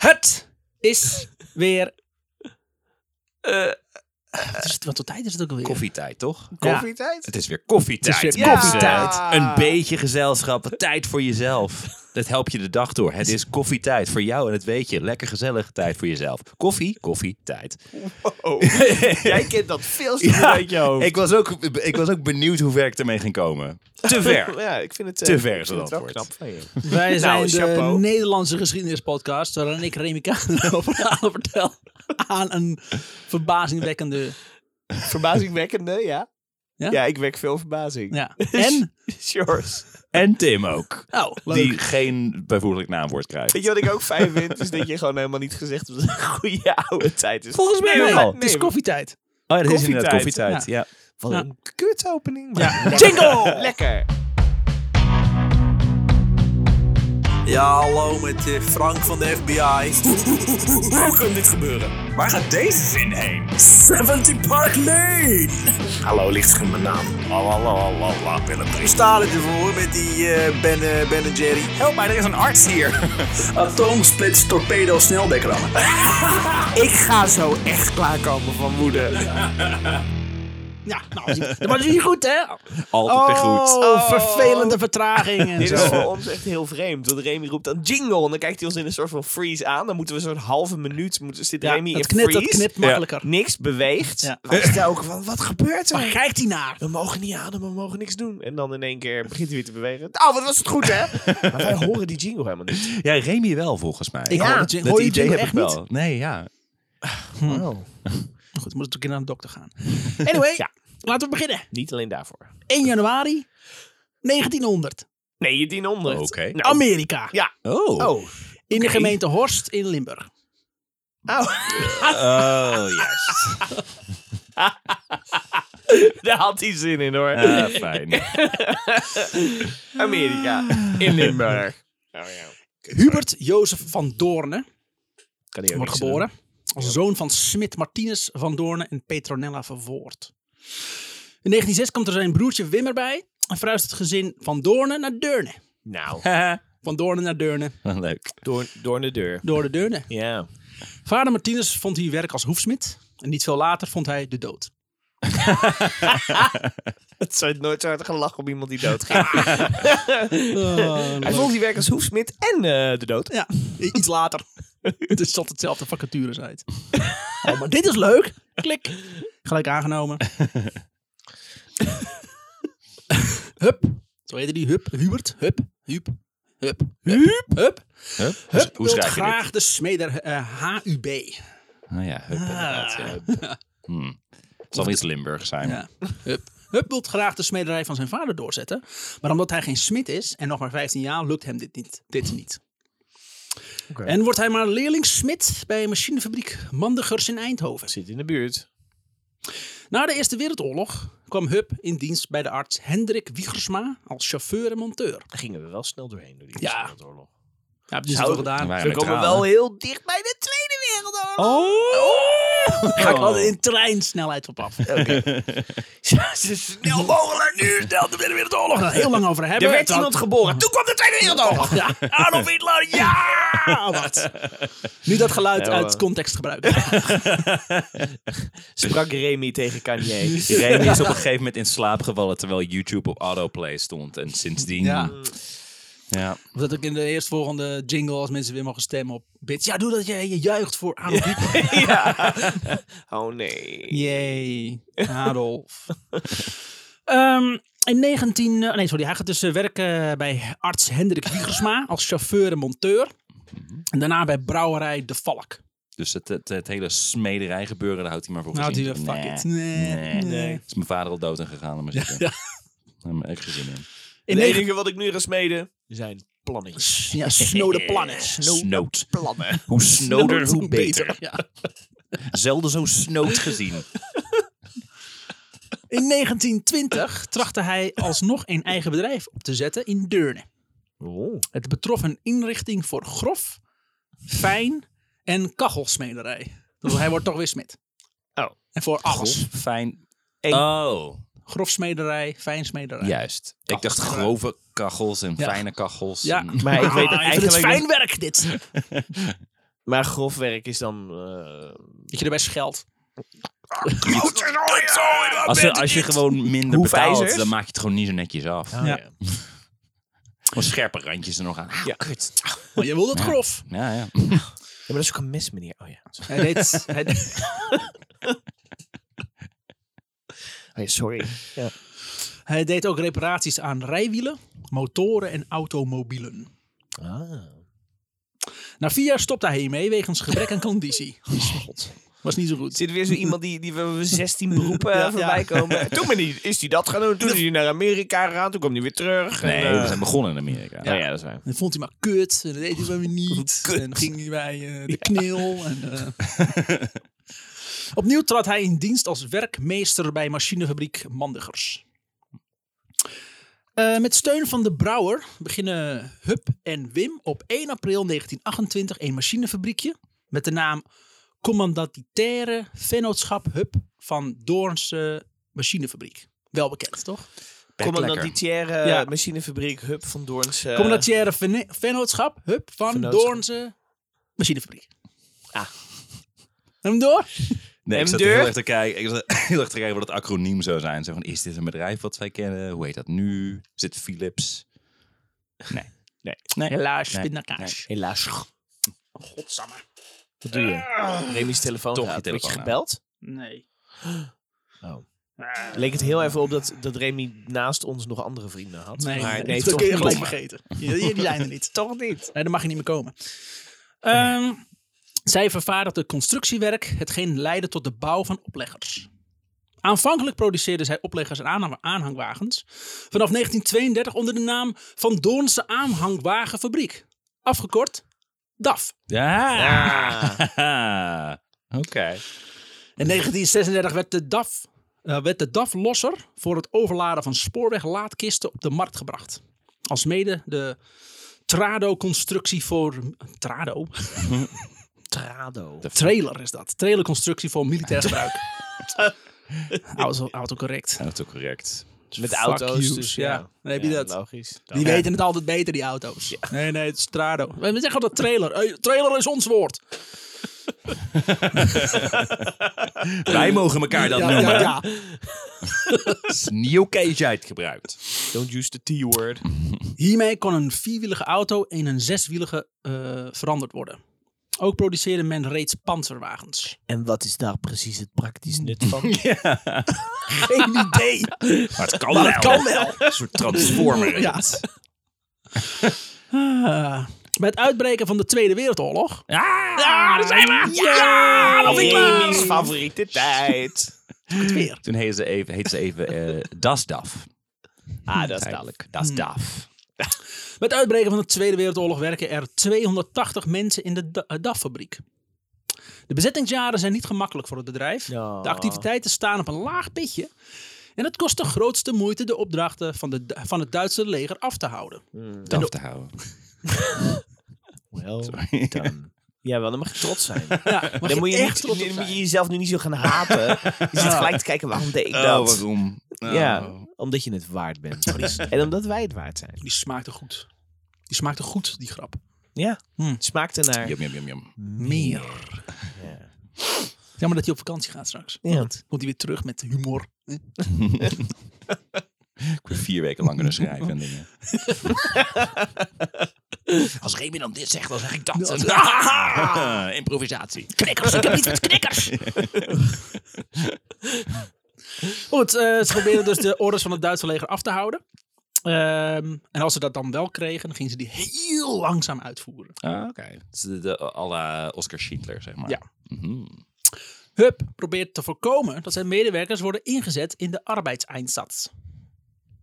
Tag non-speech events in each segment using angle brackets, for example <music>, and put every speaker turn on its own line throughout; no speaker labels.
Het is weer
Eh,
Wat is het- wat voor tijd is het ook alweer?
koffietijd, toch?
Ja.
Koffietijd? <laughs>
Het is weer koffietijd.
Het is weer
mensen.
koffietijd.
Een beetje gezelschap, tijd voor jezelf. Dat helpt je de dag door. Het is koffietijd voor jou en het weet je. Lekker gezellig tijd voor jezelf. Koffie, koffietijd.
Wow. Jij kent dat veel te
Ja,
goed uit je hoofd.
Ik was, ook, ik was ook benieuwd hoe ver ik ermee ging komen. Te ver.
<laughs> Ja, ik vind het... eh,
Te ver
ik
is
vind
het
wel
antwoord.
knap van je.
Wij zijn de
chapeau.
Nederlandse geschiedenispodcast waarin ik Remy Kamer <laughs> over verhalen vertel aan een verbazingwekkende...
Verbazingwekkende, ja.
Ja?
ja. ik wek veel
<laughs>
verbazing. <laughs>
Ja. En?
Sjors.
En Tim ook. Oh
Oh, leuk.
Die geen bijvoeglijk naamwoord krijgt.
Weet je wat ik ook fijn
<laughs>
vind? Is dat je gewoon helemaal niet gezegd hebt dat het een goede oude tijd is.
Volgens mij
Nee,
wel.
maar-
Het is
nee,
koffietijd.
Oh, ja, dat is inderdaad
Koffietijd.
koffietijd. Ja.
Wat
Ja.
een kutopening.
Ja.
maar-
Jingle!
Lekker.
Ja, hallo met eh, Frank van de FBI. <laughs> Hoe kan dit gebeuren? Waar gaat deze zin heen? 70 Park Lane! Hallo, lichtscherm, mijn naam. Lalalala, Willem. Ik sta er voor met die eh, ben, eh, ben en Jerry. Help mij, er is een arts hier. <laughs> Atoomsplits, torpedo, sneldekker.
<laughs> Ik ga zo echt klaarkomen van woede.
Ja, nou, dat was niet goed, hè?
Altijd weer goed.
Oh, vervelende vertraging en
Dit
zo.
is voor ons echt heel vreemd. Want Remy roept dan jingle. En dan kijkt hij ons in een soort van freeze aan. Dan moeten we zo'n halve minuut... Moeten, zit
Ja,
Remy
dat,
in
knipt,
freeze.
dat knipt makkelijker.
Niks beweegt.
Ja.
Wij staan ook van, wat gebeurt
Waar
er?
kijkt hij naar?
We mogen niet aan, we mogen niks doen. En dan in één keer begint hij weer te bewegen. Oh, wat was het goed, hè? <laughs> maar wij horen die jingle helemaal niet.
Ja, Remy wel volgens mij.
Ik hoor het jing-
dat
hoor je
idee
jingle
heb ik
echt
wel. Nee, ja.
Oh.
Goed, moet ik een keer naar de dokter gaan. Anyway,
Ja.
laten we beginnen.
Niet alleen daarvoor.
1 januari 1900.
Nee, je 1000.
Oké.
Nou,
Amerika.
ja.
Oh.
Oh.
In de gemeente Horst in Limburg.
Oh, <laughs>
Ah.
Oh,
<laughs>
juist.
daar had hij zin in, hoor.
Ah,
<laughs>
fijn.
Amerika. In Limburg. Oh ja.
Hubert Jozef van Doorne
Kan hij ook
wordt
niks
geboren. Als zoon van Smit Martinus van Doorne en Petronella Vervoort. In 1906 komt er zijn broertje Wim erbij. En verhuist het gezin van Doorne naar Deurne.
aan doen. Nou,
Van Doorne naar Deurne.
Leuk.
<laughs> door, door de deur.
Door de Deurne.
Ja.
Vader Martinus vond hier werk als hoefsmid. En niet veel later vond hij de dood.
Het zou nooit zo hard gelachen op iemand die <laughs> doodgaat. hij vond die werk als hoefsmid en eh, de dood.
Ja, i- iets later. <laughs> Het zat hetzelfde vacatures uit. <laughs> Oh, maar dit is leuk. Klik. Gelijk aangenomen. <laughs> Hup. Zo heette die. Hup. Hubert. Hup. Hup. Hup. Hup. Hup.
Hup.
Hup.
Hoe
Hoe
schrijf je
graag de smeder eh, HUB.
dit? Oh ja, hup inderdaad. ja, hup. Hmm. Het zal wel iets Limburg zijn.
ah. Ja. Hup. Hup wil graag de smederij van zijn vader doorzetten. Maar omdat hij geen smid is en nog maar 15 jaar, lukt hem dit niet. Dit niet.
Oké.
En wordt hij maar leerling smid bij een machinefabriek Mandigers in Eindhoven.
Zit in de buurt.
Na de Eerste Wereldoorlog kwam Hup in dienst bij de arts Hendrik Wiegersma als chauffeur en monteur.
Daar gingen we wel snel doorheen door die
Ja.
Eerste Wereldoorlog.
Ja, dat is
Zou-
wel gedaan.
Wij
We
neutraal,
komen
hè?
wel heel dicht bij de Tweede Wereldoorlog.
Oh! Ga ik wel in treinsnelheid op af. Daar
Ja, zo snel mogelijk nu. Snel de Tweede Wereldoorlog.
gaan we Nou, heel lang over hebben.
Er werd
Het had-
iemand geboren. Toen kwam de Tweede Wereldoorlog.
Ja,
Adolf Hitler, ja!
<laughs>
ah, wat. Nu dat geluid
Ja,
uit
maar-
context gebruiken.
<laughs> Sprak Remy tegen Kanye.
Irene is op een gegeven moment in slaap gevallen terwijl YouTube op autoplay stond. En sindsdien...
Ja.
Ja.
Dat ik in de eerstvolgende jingle als mensen weer mogen stemmen op bits. Ja, doe dat je, je juicht voor Adolf Hitler.
<laughs>
ja. Oh nee.
Jee, Adolf. Ehm, in 19... eh, nee, sorry. Hij gaat dus eh, werken bij arts Hendrik Wiegersma als chauffeur en monteur.
Mhm.
En daarna bij brouwerij De Valk.
Dus het, het, het hele smederij gebeuren, daar houdt hij maar voor
Nou, die
gezien.
eh, fuck
Nee.
it. Nee, nee.
Is mijn vader al dood en gegaan? Laat maar zitten.
<laughs>
Daar heb ik echt geen zin in.
In
het
negen...
enige wat ik nu ga smeden zijn plannetjes.
Ja, snode
<laughs>
plannen.
Snoot.
Plannen.
Hoe snoder, hoe beter. Zelden zo snoot
<laughs>
gezien.
In 1920 trachtte hij alsnog een eigen bedrijf op te zetten in Deurne.
Oh.
Het betrof een inrichting voor grof, fijn en kachelsmederij. Dus hij wordt toch weer smid.
Oh.
En voor alles.
Fijn.
Eén.
Oh,
Grofsmederij, fijnsmederij.
juist. Ik dacht grove kachels en
Ja.
fijne kachels.
Ja.
en-
<laughs>
Maar ik weet
Ah, ik vind
eigenlijk
het fijn werk dit.
Maar grof werk is dan... eh,
Dat je erbij scheldt.
Als, je- als je gewoon minder
Hoefijzers?
betaalt, dan maak je het gewoon niet zo netjes af.
ja.
Oh, ja.
Gewoon scherpe randjes er nog aan.
Ja. Kut. Ja,
Maar je wil dat grof.
Ja, ja.
maar dat is ook een mes, meneer. Oh ja.
Hij deed, hij deed-
Oh ja, sorry. Ja.
hij deed ook reparaties aan rijwielen, motoren en automobielen.
Ah.
Na vier jaar stopte hij hiermee wegens gebrek aan conditie.
Oh,
God. Was niet zo goed.
Zit er weer zo iemand die, die we 16 beroepen eh,
Ja, ja.
voorbij komen. <laughs> Toen ben die, is hij dat gaan doen. Toen is hij naar Amerika gegaan. Toen kwam hij weer
<laughs>
terug.
Nee,
en, eh,
we zijn begonnen in Amerika.
oh, ja. ja, dat is waar.
En vond hij maar kut. En dat deed hij <laughs> maar weer niet. En dan ging hij bij eh, de knil. En, eh. <laughs> Opnieuw trad hij in dienst als werkmeester bij machinefabriek Mandigers. Eh, met steun van de brouwer beginnen Hup en Wim op 1 april 1928 een machinefabriekje met de naam Commandataire Vennootschap Hup van Doornse Machinefabriek. Wel bekend, toch?
Commandantitiaire
Ja.
eh, machinefabriek Hub van Doorns. eh,
Commandataire venne- vennootschap, hup, van
Vennootschap.
Doornse machinefabriek.
Ah.
Hem door?
Nee, ik
En
zat
deur?
heel erg te kijken. Ik zat <laughs> heel erg te kijken wat het acroniem zou zijn. Zo van, is dit een bedrijf wat wij kennen? Hoe heet dat nu? Zit Philips? Nee.
Nee.
Helaas,
Nee.
pindakaas.
Helaas.
Godsamme.
Wat doe je?
Ah,
Remy's telefoon
Toch
gaat.
je
Word je
telefoon
gebeld?
Nee.
Oh. Leek het heel even op dat, dat Remy naast ons nog andere vrienden had.
Nee,
maar
nee
nee
dat
toch
kun je
niet.
gelijk vergeten. Je, je- die lijnen niet.
<laughs> Toch niet.
Nee, dan mag je niet meer komen. Ehm, zij vervaardigde constructiewerk, hetgeen leidde tot de bouw van opleggers. Aanvankelijk produceerde zij opleggers en aanhang- aanhangwagens. Vanaf 1932 onder de naam Van Doornse Aanhangwagenfabriek. Afgekort DAF.
Ja. <laughs> Oké.
In 1936 werd de DAF, eh, werd de DAF-losser voor het overladen van spoorweglaadkisten op de markt gebracht. Alsmede de Trado-constructie voor... <laughs> Trado?
Trado.
Trailer is dat. Trailerconstructie voor <laughs> militair gebruik. Auto, autocorrect.
En dat is ook correct.
Met
Fuck
auto's.
yous,
Dus,
ja.
ja.
Dan heb je dat.
Logisch.
Die weten het altijd beter, die auto's. Nee, nee, het is Trado. We zeggen altijd trailer. Hey, trailer is ons woord.
Wij mogen elkaar dat
ja,
noemen.
ja, ja.
Het is niet oké dat jij het gebruikt.
Don't use the T-word.
Hiermee kon een vierwielige auto in een zeswielige eh, veranderd worden. Ook produceerde men reeds panzerwagens.
En wat is daar precies het praktisch
<laughs>
nut van?
Geen idee.
Maar het kan wel.
Maar het kan wel.
Een soort transformer.
Ja. Ah. Bij het uitbreken van de Tweede Wereldoorlog.
Ah,
Ja, daar zijn we! Ja, dat vind ik leuk.
Remy's favoriete tijd.
Het weer.
Toen heette ze even, heette ze even eh, DasDaf.
Ah, dat is dadelijk.
Dat is DAF.
Met het uitbreken van de Tweede Wereldoorlog werken er 280 mensen in de Da- eh, DAF-fabriek. De bezettingsjaren zijn niet gemakkelijk voor het bedrijf.
Ja.
De activiteiten staan op een laag pitje. En het kost de grootste moeite de opdrachten van, de, van het Duitse leger af te houden.
DAF te houden.
Well done. Ja, wel, dan mag je
<laughs>
trots zijn.
Ja, maar
Dan moet je,
echt
niet,
trots op
dan moet
zijn.
je jezelf nu niet zo gaan
<laughs>
haten. Je zit gelijk te kijken, waarom deed ik
Oh,
dat?
waarom? Oh.
Ja, omdat je het waard bent. Maurice. en omdat wij het waard zijn.
Die smaakte goed. Die smaakte goed, die grap.
Ja,
Hmm.
het smaakte naar
Jum, jum, jum, jum.
Meer.
Ja.
Jammer dat hij op vakantie gaat straks.
Ja.
Komt hij weer terug met humor.
Ik wil vier weken lang kunnen schrijven en dingen. <laughs> Als Remy dan dit zegt, dan zeg ik dat. <laughs> Improvisatie.
Knikkers, ik heb iets met knikkers. <laughs> Goed, eh, ze probeerden dus de orders van het Duitse leger af te houden. Ehm, en als ze dat dan wel kregen, dan gingen ze die heel langzaam uitvoeren.
Ah, oké. Het is de, de à la Oscar Schindler, zeg maar.
Ja.
Mhm.
Hup probeert te voorkomen dat zijn medewerkers worden ingezet in de arbeidseinsatz.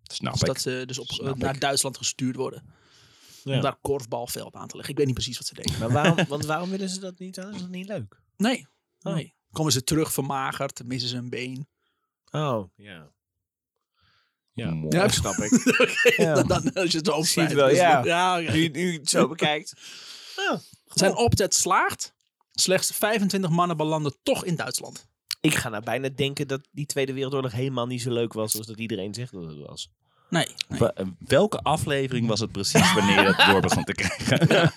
Snap
Dus
ik.
dat ze dus op, eh,
Snap ik.
naar Duitsland gestuurd worden. Om daar korfbalveld aan te leggen. Ik weet niet precies wat ze deden.
Maar waarom, want waarom willen ze dat niet? Dat is dat niet leuk.
Nee,
Oh.
nee. Komen ze terug vermagerd, missen ze een been.
Oh, ja. Ja.
Mooi.
Ja,
snap
<laughs>
ik. <laughs> Ja.
<laughs> Dan, dan- als je het zo
Zie je
opschrijft.
het wel,
dus-
ja.
ja oké.
<laughs> Nu, nu je het zo bekijkt. Ja,
Zijn opzet slaagt. Slechts 25 mannen belanden toch in Duitsland.
Ik ga nou bijna denken dat die Tweede Wereldoorlog helemaal niet zo leuk was als dat iedereen zegt dat het was.
Nee. nee.
Wa- Eh, Welke aflevering was het precies wanneer je dat door begon te <laughs> krijgen?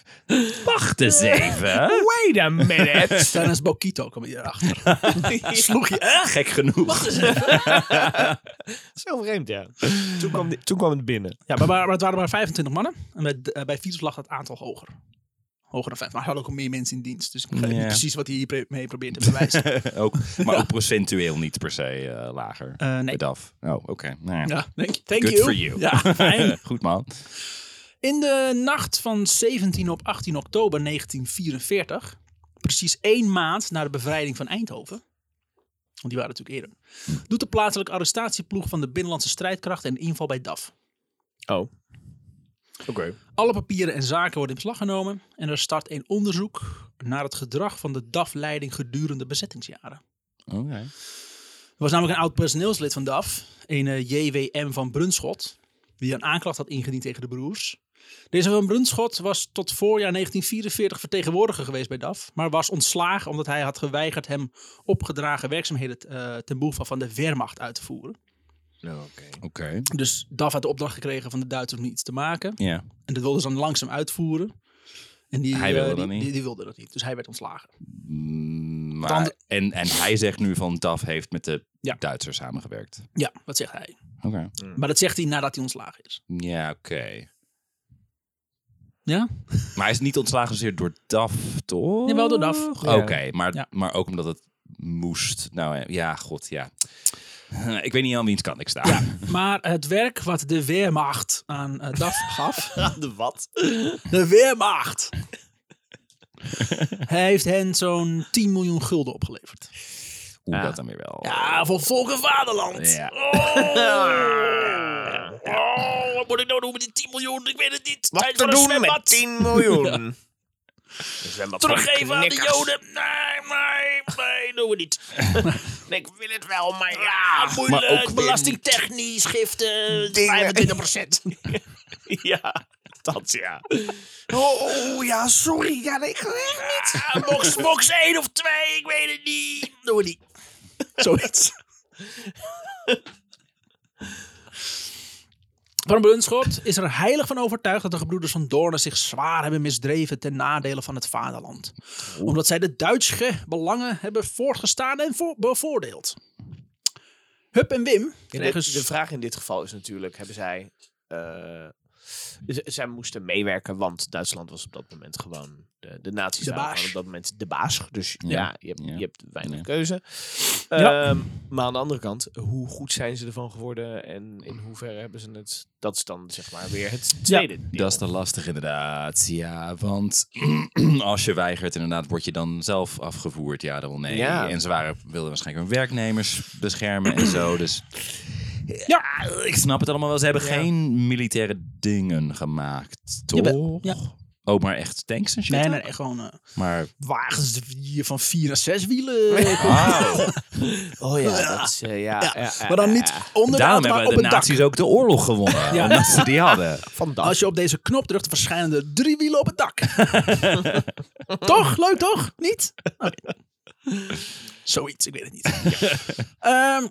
Wacht eens even.
Wait
<laughs>
a minute.
Tijdens Bokito kwam je erachter. Sloeg je echt?
Gek genoeg.
Zo vreemd, <laughs> ja. Toen kwam, die- toen kwam het binnen.
Ja, maar, maar het waren maar 25 mannen. En bij, eh, bij Vitus lag dat aantal hoger. Hoger dan 5. Maar hij had ook al meer mensen in dienst. Dus ik begrijp
Ja.
niet precies wat hij hiermee probeert te
<laughs>
bewijzen.
ook, maar
<laughs>
ook procentueel niet per se eh, lager.
Eh, nee.
Met af. Oh, oké. Nou ja.
Ja, thank, thank
Good
you.
for you.
Ja,
<laughs>
fijn.
Goed man.
In de nacht van 17 op 18 oktober 1944, precies één maand na de bevrijding van Eindhoven, want die waren natuurlijk eerder, doet de plaatselijke arrestatieploeg van de Binnenlandse Strijdkrachten een inval bij DAF.
<laughs> Oh. Oké.
Alle papieren en zaken worden in beslag genomen en er start een onderzoek naar het gedrag van de DAF-leiding gedurende bezettingsjaren.
Oké.
Er was namelijk een oud personeelslid van DAF, een eh, JWM van Brunschot, die een aanklacht had ingediend tegen de broers. Deze van Brunschot was tot voorjaar 1944 vertegenwoordiger geweest bij DAF, maar was ontslagen omdat hij had geweigerd hem opgedragen werkzaamheden eh, ten behoeve van de Wehrmacht uit te voeren.
Oké.
Oké.
Dus DAF had de opdracht gekregen van de Duitsers om iets te maken.
Ja.
En dat wilden ze dan langzaam uitvoeren. En die,
Hij wilde
eh, die,
dat niet.
Die, die wilde dat niet, dus hij werd ontslagen.
Mm, Maar,
Tanden-
en, en hij zegt nu van DAF heeft met de
Ja.
Duitsers samengewerkt.
Ja, dat zegt hij.
Oké.
Maar dat zegt hij nadat hij ontslagen is.
Ja, oké.
Ja?
Maar hij is niet ontslagen zozeer door DAF, toch?
Ja, wel door DAF.
Oké, maar,
Ja.
maar ook omdat het moest. Nou ja, ja, god, ja. <laughs> Ik weet niet aan wiens kant ik sta.
Maar het werk wat de Wehrmacht aan eh, DAF gaf. <laughs>
De wat?
De Wehrmacht! heeft hen zo'n 10 miljoen gulden
<laughs>
opgeleverd.
Hoe
Ja.
dat dan weer wel.
Ja, voor volk en vaderland.
Ja.
<laughs>
Ah.
Oh. Oh, wat moet ik nou doen met die 10 miljoen? Ik weet het niet.
Wat
Tijd
te
voor een
doen met
zwembad.
10 <laughs> miljoen? Zwembad voor
Teruggeven aan de
knikkers.
Joden. Nee, nee, nee, doen we niet.
Ik wil het wel, maar
Ja,
ja.
moeilijk.
maar ook
belastingtechnisch giften.
Dingen.
25 procent. <laughs>
Ja, dat ja. Oh, oh, ja, sorry. Ja, nee, ik wil echt niet.
Ah, box, box 1 of 2, ik weet het niet. Doen we niet. Zoiets. Van Brunschot is er heilig van overtuigd dat de gebroeders van Doornen zich zwaar hebben misdreven ten nadele van het vaderland. Omdat zij de Duitse belangen hebben voortgestaan en voor- bevoordeeld. Hup en Wim
de,
kregen... s-
de vraag in dit geval is natuurlijk, hebben zij... eh, z- zij moesten meewerken, want Duitsland was op dat moment gewoon... De, de nazi's
De
waren
baas.
gewoon op dat moment de baas. Dus ja, je, hebt,
ja.
je hebt weinig
Ja.
keuze.
Ja.
Ehm, maar aan de andere kant, hoe goed zijn ze ervan geworden en in hoeverre hebben ze het... Dat is dan zeg maar weer het tweede deel.
Dat is te lastig inderdaad. Ja, want <clears throat> als je weigert, inderdaad, word je dan zelf afgevoerd. Ja, dan wel nee.
Ja.
En ze waren, wilden waarschijnlijk hun werknemers beschermen en zo. Dus
Ja.
ik snap het allemaal wel. Ze hebben
Ja.
geen militaire dingen gemaakt, toch?
Jawel, ja.
Ook maar echt tanks en shit.
Nee,
ook?
nee, nee, gewoon eh,
Maar
wagens hier van vier naar
<laughs>
zes wielen. <laughs>
Oh ja, dat is... eh, ja, ja, ja,
Maar dan
ja,
niet
ja.
onder de
Eh. daarom
auto, maar
hebben
op
de
het dak.
nazi's ook de oorlog gewonnen.
Ja.
Omdat ze die
<laughs>
hadden.
Van dat.
Als je op deze knop drukt, verschijnen er drie wielen op het dak. toch? Leuk toch? Niet? Oké. Zoiets, ik weet het niet. Ja. Ehm,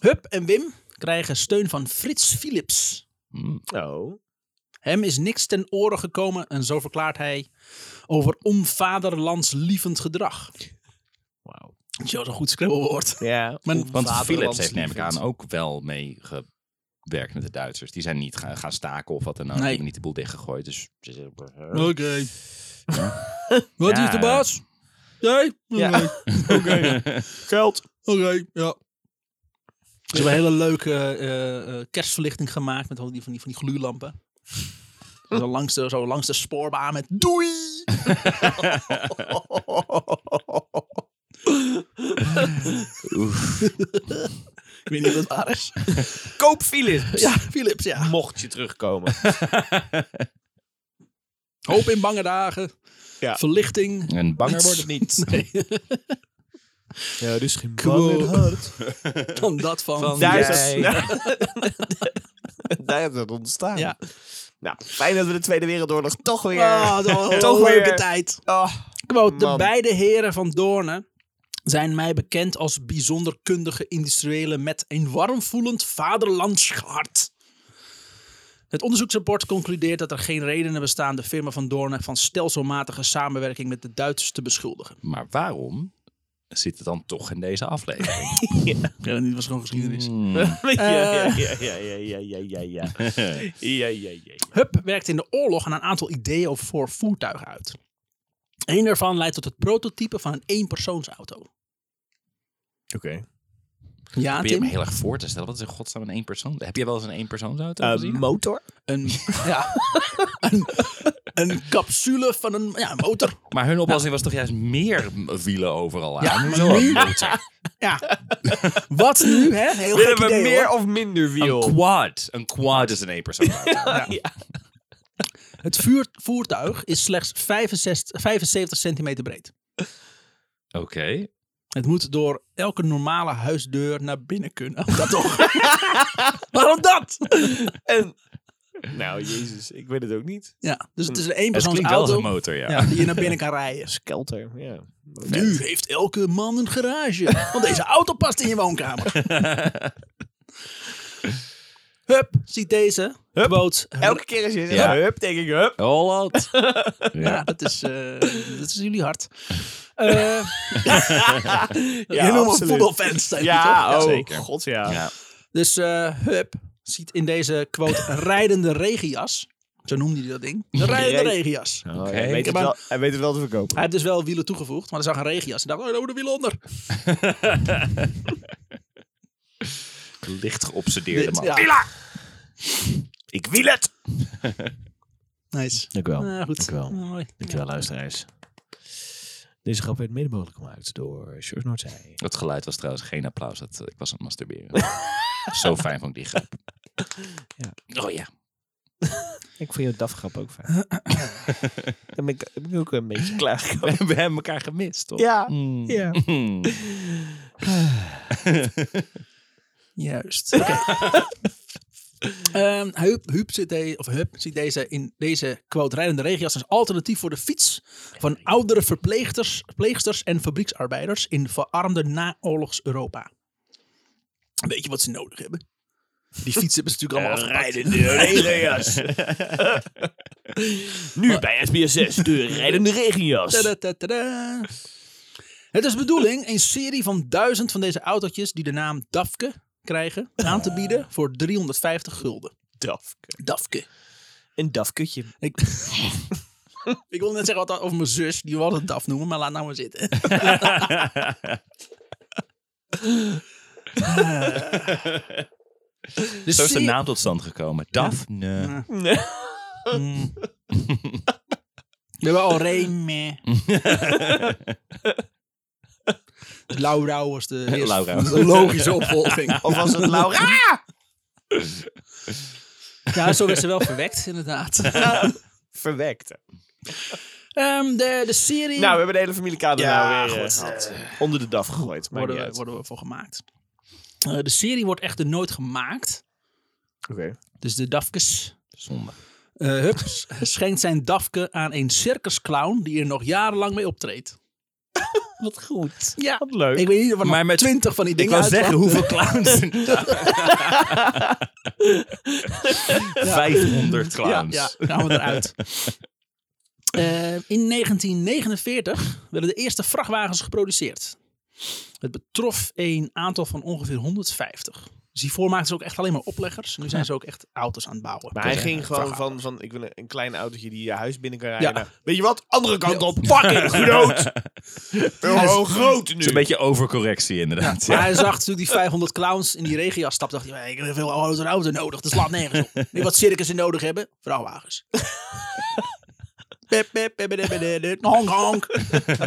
Hup en Wim krijgen steun van Frits Philips.
Hm.
Oh.
Hem is niks ten oren gekomen en zo verklaart hij over onvaderlandslievend gedrag.
Wauw.
Dat is wel zo'n goed scribbelwoord.
Ja.
Maar-
Want Philips heeft, neem
namelijk
ik aan, ook wel mee gewerkt met de Duitsers. Die zijn niet gaan, gaan staken of wat dan ook.
Nee.
Die hebben niet de boel dichtgegooid. Dus
eh,
Oké. Wat
Ja.
is de baas? Jij? Oké.
Ja.
<laughs>
Geld.
Oké, ja. Ze hebben een hele leuke eh, eh, kerstverlichting gemaakt met al die van die, van die <laughs> gloeilampen. zo, langs de, zo langs de spoorbaan met <laughs> doei! Ik weet niet wat het waar is. <laughs>
Koop <laughs> Philips.
Ja, Philips, ja.
Mocht je terugkomen.
Hoop in bange dagen.
Ja.
Verlichting.
En banger wordt het niet.
<laughs> Nee,
<laughs> Ja, dus geen
Gewoon.
bang in het hart.
dan dat van.
Daar is
jij.
het. Ja. <laughs> Daar is het ontstaan.
Ja.
Nou, fijn dat we de Tweede Wereldoorlog toch weer...
Ah, toch een
Toch
leuke
weer.
tijd.
<laughs> Oh,
Quote, de
Man.
beide heren van Doornen zijn mij bekend als bijzonder kundige industriëlen met een warmvoelend vaderlandsgehart. Het onderzoeksrapport concludeert dat er geen redenen bestaan de firma van Doornen van stelselmatige samenwerking met de Duitsers te beschuldigen.
Maar waarom zit het dan toch in deze aflevering?
Ja, dit was gewoon geschiedenis.
Hmm.
Eh. ja, ja, ja, ja, ja, ja, ja, ja. <laughs> Ja, ja, ja, ja.
Hup werkte in de oorlog aan een aantal ideeën of voor voertuigen uit. Eén daarvan leidt tot het prototype van een eenpersoonsauto.
Oké.
Ja,
Probeer me
Tim?
heel erg voor te stellen. Wat is in godsnaam een één persoon? Heb jij wel eens een één persoonsauto
Eh,
gezien?
motor?
Een, ja, een, een capsule van een ja, een motor.
Maar hun oplossing was toch juist meer m- wielen overal aan?
Ja,
Hoezo een motor?
Ja. Wat nu, hè? Heel gek idee, hoor.
of minder
Een quad. Een quad is een één persoonsauto.
Het vuur- voertuig is slechts 65, 75 centimeter breed.
Oké.
Het moet door elke normale huisdeur naar binnen kunnen. Oh, Dat toch? <laughs> Waarom dat?
En... Nou, jezus, ik weet het ook niet.
Ja, dus het is een
Het klinkt wel als
eenpersoonsauto
een motor, ja.
ja, die je naar binnen kan
<laughs>
rijden.
Skelter, ja.
Nu heeft elke man een garage. Want deze auto past in je
<laughs>
woonkamer. Hup, ziet deze.
Hup.
Boot.
Elke keer als je zegt,
Ja.
hup, denk ik, hup.
Holland.
Ja, dat is, eh, dat is jullie hart. Eh
<laughs> Ja,
je noemt me
absoluut.
voetbalfans, zei je toch?
Ja, oh,
zeker.
god ja.
Ja.
Dus eh, Hup ziet in deze quote een rijdende regenjas. Zo noemde hij dat ding. Een rijdende
Re-
regenjas.
Oh,
Oké.
hij, weet het
Maar-
wel, hij weet het wel te verkopen.
Hij heeft dus wel wielen toegevoegd, maar er zag een regenjas. En dacht, oh, daar moeten wielen onder.
Licht geobsedeerde
Dit,
man.
ja.
Ik wil het!
Nice.
Dank u wel.
Eh, goed.
Oh, Dank u wel.
Eh, mooi.
Dankjewel, luisteraars. Deze grap werd mede mogelijk gemaakt door George Noordzij.
Dat geluid was trouwens geen applaus. Dat, eh, ik was aan het <laughs> masturberen. Zo fijn vond ik die grap. Oh ja.
Ik vind je DAF-grap ook fijn. Dan ben ik, ben ik ook een beetje klaar.
<laughs> We hebben elkaar gemist, <laughs> toch?
Ja,
Mm.
ja.
Mm.
Juist. Oké. <laughs> Ehm, Hup, Hup ziet, de- of Hup ziet deze in deze quote rijdende regenjas als alternatief voor de fiets van oudere verpleegsters, verpleegsters en fabrieksarbeiders in verarmde naoorlogs-Europa. Weet je wat ze nodig hebben? Die fietsen hebben ze natuurlijk allemaal afgepakt.
rijdende regenjas. nu bij SBS6, de rijdende regenjas.
Tadatatada. Het is bedoeling een serie van duizend van deze autootjes die de naam DAFKE krijgen aan te bieden voor 350 gulden.
Dafke.
DAFKE.
Een dafkutje.
Ik, <laughs> ik wilde net zeggen wat over mijn zus, die wilde het DAF noemen, maar laat nou maar zitten. Dus
Zo is de
zie-
naam tot stand gekomen. Daphne.
Nee.
<laughs> Mm. We hebben al Reme. Laura was de, eerste-
Laura.
de <laughs> logische opvolging.
Of was <laughs> het Laura?
Ja, zo werd ze wel verwekt, inderdaad.
Verwekte.
<laughs> Ehm, de, de serie
Nou, we hebben de hele familiekader
Ja,
nou weer eh,
goed.
gehad. onder de DAF gegooid. Maar
worden, we, worden we voor gemaakt. Eh, de serie wordt echter nooit gemaakt. Dus de Dafkes
Zonde.
eh, hup, <laughs> schenkt zijn Dafke aan een circusclown die er nog jarenlang mee optreedt.
<laughs> Wat goed.
Ja,
Wat leuk.
ik weet niet of er
Maar
nog
met-
twintig van die
Ik
dingen
wou
uit
zeggen,
waren.
hoeveel
<laughs>
clowns? 500 clowns.
Ja, ja gaan we
<laughs>
eruit. Eh, in 1949 werden de eerste vrachtwagens geproduceerd. Het betrof een aantal van ongeveer 150. Dus hiervoor maakten ze ook echt alleen maar opleggers. Nu zijn ze ook echt auto's aan het bouwen.
Maar hij
Dus, eh,
ging gewoon
vrachtwagens.
van, van, ik wil een, een klein autootje die je huis binnen kan
Ja.
rijden. naar, Weet je wat? Andere kant
Ja.
op. <laughs> Fucking groot. Gewoon
Het
groot
is
nu.
een beetje overcorrectie inderdaad.
Maar
Ja.
hij zag natuurlijk die 500 clowns in die regenjas stap. Dacht hij, ik heb veel auto's en auto nodig. Dat slaat nergens op. Weet je wat circussen nodig hebben? <laughs> Vrachtwagens. Pep, pep, pep, pep, pep, pep, Honk, honk.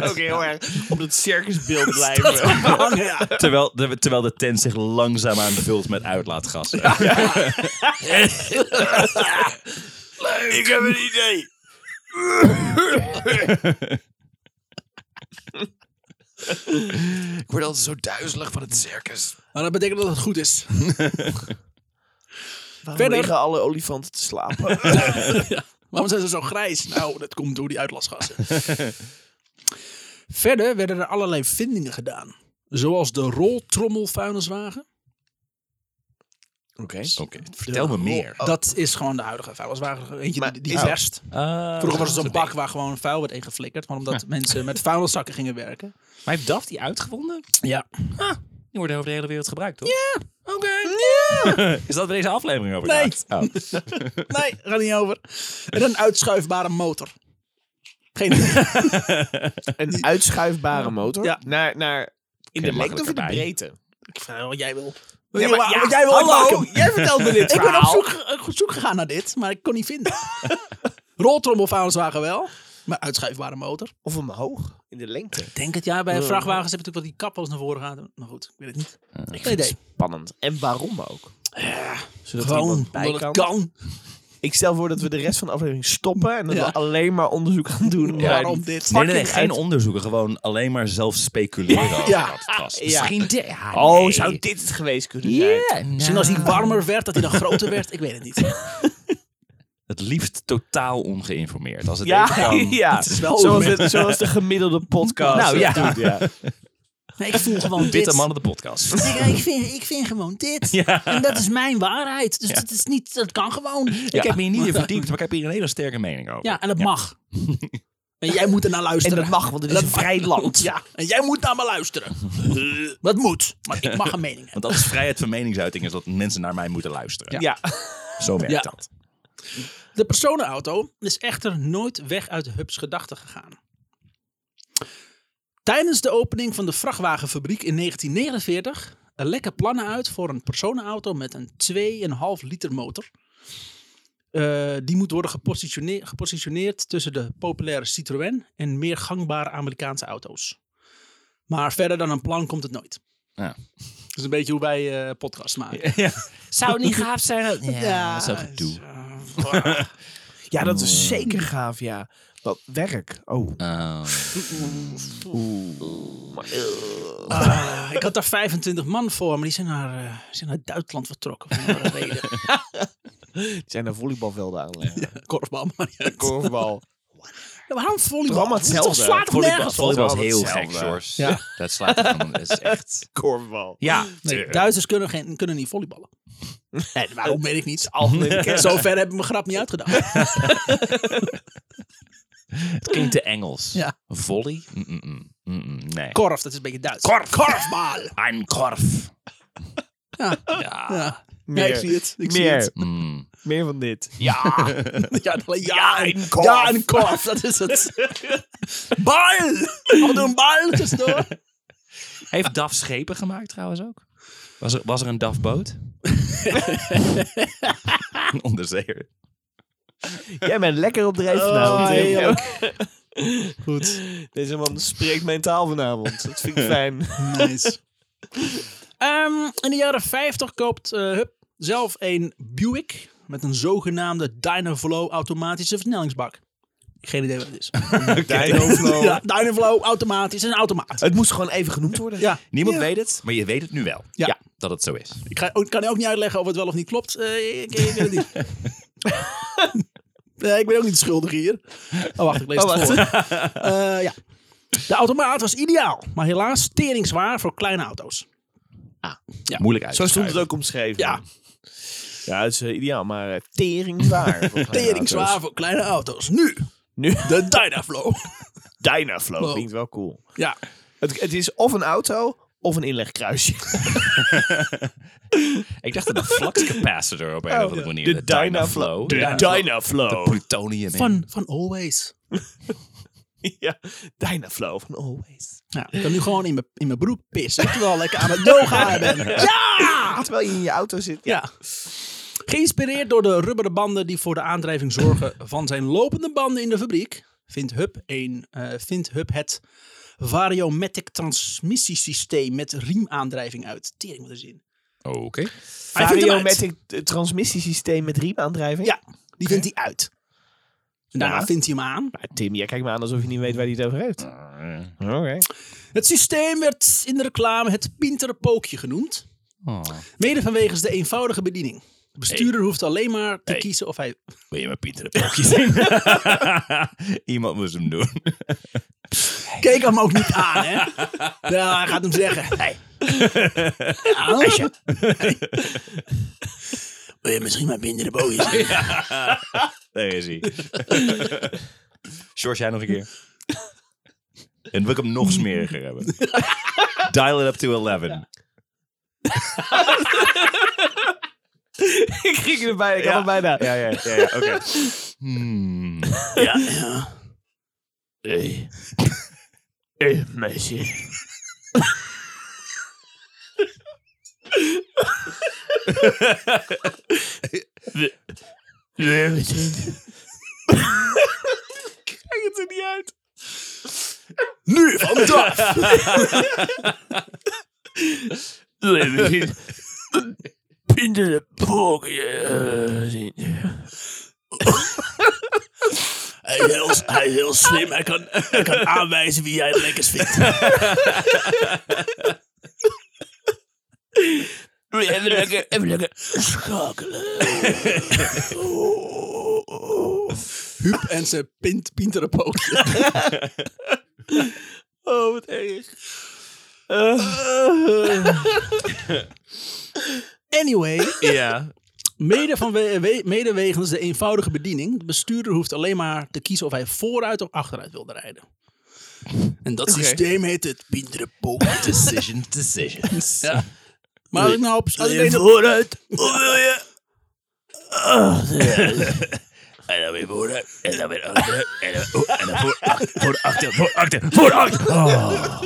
ook heel erg op dat <laughs> circusbeeld blijven.
Honk, ja.
Terwijl, de, terwijl de tent zich langzaam aan vult met uitlaatgassen.
ik heb een idee.
Ik word altijd zo duizelig van het circus.
Maar dat betekent dat het goed is.
Waarom
Verder.
liggen alle olifanten te <laughs> slapen?
Waarom zijn ze zo grijs? Nou, dat komt door die uitlasgassen. Verder werden er allerlei vindingen gedaan. Zoals de roltrommelvuilniswagen.
Oké.
Oké, vertel me meer.
Oh. Dat is gewoon de huidige vuilniswagen. Weet je,
Maar
die, die
is-
verst.
Ah,
Vroeger was het zo'n
oké.
bak waar gewoon vuil werd ingeflikkerd. Maar omdat <laughs> mensen met vuilniszakken gingen werken.
Maar heeft DAF die uitgevonden?
Ja.
Die wordt over de hele wereld gebruikt, toch? Ja. Oké. <laughs> Is dat waar deze aflevering over
Nee.
gaat? Oh.
<laughs> Nee, gaat niet over. En een uitschuifbare motor. Geen <laughs> idee.
Een uitschuifbare motor.
Ja.
Naar, naar in de
Oké,
lengte of
makkelijker
in de
bij.
breedte?
Ik vraag wat jij wil.
Ja, maar- ja,
wat <laughs> jij wil, ik maak
hallo,
hem.
jij vertelt me dit
Ik ben op
verhaal.
zoek, ge- op zoek gegaan naar dit, maar ik kon niet vinden. <laughs> Roltrommelvuilniswagen wel, maar uitschuifbare motor.
Of omhoog? In de lengte.
Ik denk het, ja, bij vrachtwagens heb je natuurlijk wel die kappels naar voren gaat. Maar goed, ik weet het niet. Geen idee.
Spannend. En waarom ook? Zodat er
Gewoon,
iemand bij
omdat het
kan.
kan.
Ik stel voor dat we de rest van de aflevering stoppen en dat
Ja.
we alleen maar onderzoek gaan doen.
Ja.
naar
Waarom
die
dit?
Nee, nee, nee,
fucking
geen
uit-
onderzoeken. Gewoon alleen maar zelf speculeren over
Ja.
wat het was.
Ja.
Misschien de, ja,
Oh,
nee.
zou dit het geweest kunnen zijn?
Ja,
Misschien als die warmer werd, dat hij dan groter werd. Ik weet het niet.
Het liefst totaal ongeïnformeerd. Als het
Ja,
even <laughs> kan.
ja.
is wel
zoals, <laughs> de, zoals de gemiddelde podcast.
Nou,
het
ja.
doet, ja.
Nee, ik voel gewoon dit.
Witte mannen de <laughs> podcast.
Ik, eh, ik, vind, ik vind gewoon dit.
Ja.
En dat is mijn waarheid. Dus
Ja.
dat, is niet, dat kan gewoon.
Ik heb me hier niet in verdiept, maar ik heb hier een hele sterke mening over.
Ja, en dat mag. En jij moet er naar
En
luisteren.
dat mag, want het is
Dat
een vrij land.
Ja, en jij moet naar me luisteren. Eh, Dat moet, maar ik mag een mening hebben.
Want dat is vrijheid van meningsuiting, is dat mensen naar mij moeten luisteren.
Ja.
Zo <laughs> werkt
Ja.
dat.
De personenauto is echter nooit weg uit Hubs gedachten gegaan. Tijdens de opening van de vrachtwagenfabriek in 1949 er lekken plannen uit voor een personenauto met een 2,5 liter motor. Eh, die moet worden gepositione- gepositioneerd tussen de populaire Citroën en meer gangbare Amerikaanse auto's. Maar verder dan een plan komt het nooit.
Ja.
Dat is een beetje hoe wij eh, podcasts maken.
Zou het niet gaaf zijn? Ja, dat is ook gedoe.
eh, gedoe.
ja, dat is zeker gaaf, ja. Dat werk. Oh.
Oh.
Ah, ik had daar 25 man voor, maar die zijn naar, eh, zijn naar Duitsland vertrokken. Voor een reden.
Het zijn er volleybalvelden aan.
Korfbal, maar niet uit.
Korfbal.
Ja, waarom volleybal?
Allemaal
Dat is toch-
hetzelfde.
slaat het
Volleybal-
nergens op?
Volleybal is
wel
heel gek,
hetzelfde.
George. Dat slaat helemaal- dat is echt...
Korfbal.
Ja,
Nee, Duitsers kunnen, geen, kunnen niet volleyballen. Nee, waarom weet ik niet. <laughs> Zover heb ik mijn grap niet uitgedacht.
het klinkt te Engels.
Ja.
Volley? Mm -mm -mm. Mm -mm. Nee.
Korf, dat is een beetje Duits.
Korf.
Korfbal.
Een korf.
Ja.
Ja.
Ja.
Ah, Meer.
Ja, ik zie het. Ik zie
Meer.
het.
Mm.
Meer van dit.
Ja.
Ja, dat- ja,
een korf.
Ja, een korf. Dat is
<laughs>
het. Bal. Af en toe een bal tussendoor.
<laughs> Heeft DAF schepen gemaakt trouwens ook? Was er, was er een <laughs> DAF-boot? een onderzeeër.
Jij bent lekker op dreef vanavond.
Oh,
Tim.
heerlijk.
<laughs> Goed. Deze man spreekt mentaal vanavond. Dat vind ik <laughs> fijn.
Nice. Ehm, in de jaren 50 koopt eh, Hup zelf een Buick met een zogenaamde Dynaflow automatische versnellingsbak. Geen idee wat het is.
Oh. <laughs> Dino-flow.
<laughs> Ja, Dynaflow automatisch, een automaat.
Het moest gewoon even genoemd worden.
Ja,
Niemand
Ja.
weet het, maar je weet het nu wel.
Ja.
dat het zo is.
ik ga, ook- kan ook niet uitleggen of het wel of niet klopt. Eh, ik, ik weet het <laughs> niet. nee, ik ben ook niet schuldig hier. Oh, wacht, ik lees
Oh,
het
wacht.
voor. <laughs> Eh, ja. De automaat was ideaal, maar helaas teringzwaar voor kleine auto's.
Moeilijk uit.
Zo stond het ook omschreven.
Ja.
Ja, het is eh, ideaal, maar eh, <laughs> teringzwaar.
Teringzwaar voor kleine auto's. Nu,
Nu,
de Dynaflow.
Dynaflow
Wow.
klinkt wel cool.
ja.
Het, het is of een auto, of een inlegkruisje.
Ik dacht dat de flux capacitor op een
Oh,
of andere manier.
De Dynaflow.
Dynaflow.
De Dynaflow.
plutonium. in.
Van, van Always.
<laughs> Ja, Dynaflow van Always.
Ja, ik kan nu gewoon in mijn, in mijn broek pissen. Terwijl ik lekker aan het yoga
<laughs>
ben. <laughs> Ja!
Terwijl je in je auto zit.
ja! Geïnspireerd door de rubberen banden die voor de aandrijving zorgen van zijn lopende banden in de fabriek, vindt Hub, een, eh, vindt Hub het variomatic transmissiesysteem met riemaandrijving uit. Tering wat er zin.
Oh, Oké.
Hij vindt hem uit.
Variomatic eh, transmissiesysteem met riemaandrijving.
Ja, die vindt hij uit. En daarna
Ja.
vindt hij hem aan.
Maar Tim, jij kijkt me aan alsof je niet weet waar hij het over heeft. Oké.
Het systeem werd in de reclame het pintere pookje genoemd.
Oh.
Mede vanwege de eenvoudige bediening. De bestuurder hoeft alleen maar te
Hey.
kiezen of hij
Wil je maar Pieter de Pookje zien? Iemand moest hem doen.
Keek hem ook niet aan, hè? Nou, hij gaat hem zeggen. Hey. Aan? <laughs> Wil je misschien maar binnen de boeien zijn?
Daar is hij. <laughs> George, jij nog een keer. En wil ik hem nog smeriger <laughs> hebben. Dial it up to 11.
ik ging erbij, ik
Ja.
had hem bijna.
Ja, ja, ja. ja, Oké. Hmm.
ja. ja.
Hey. Hey, Eh. meisje. Wil- wil je wat drinken? Kijk het er niet uit.
Nu van de af!
Wil je misschien Pinder de poker eh, zien?
Hij is heel, hij is heel slim. Hij kan, hij kan aanwijzen wie jij het lekkers vindt.
Wil je Even lekker, even lekker schakelen.
Huub en zijn pint, pinterenpootje.
Oh, wat erg.
Eh.
Eh.
Anyway,
Ja.
mede van we- we- mede wegens de eenvoudige bediening. De bestuurder hoeft alleen maar te kiezen of hij vooruit of achteruit wilde rijden. En dat systeem heet het pinterenpootje.
Decision, decisions.
Ja. Maar als ik nou op... Als ik
Wil je
deze-
vooruit? Of wil je...
En dan weer vooruit. En dan weer achteruit. En dan, oh, en dan voor, ach- voor achter. Voor achter. Voor achter. Oh.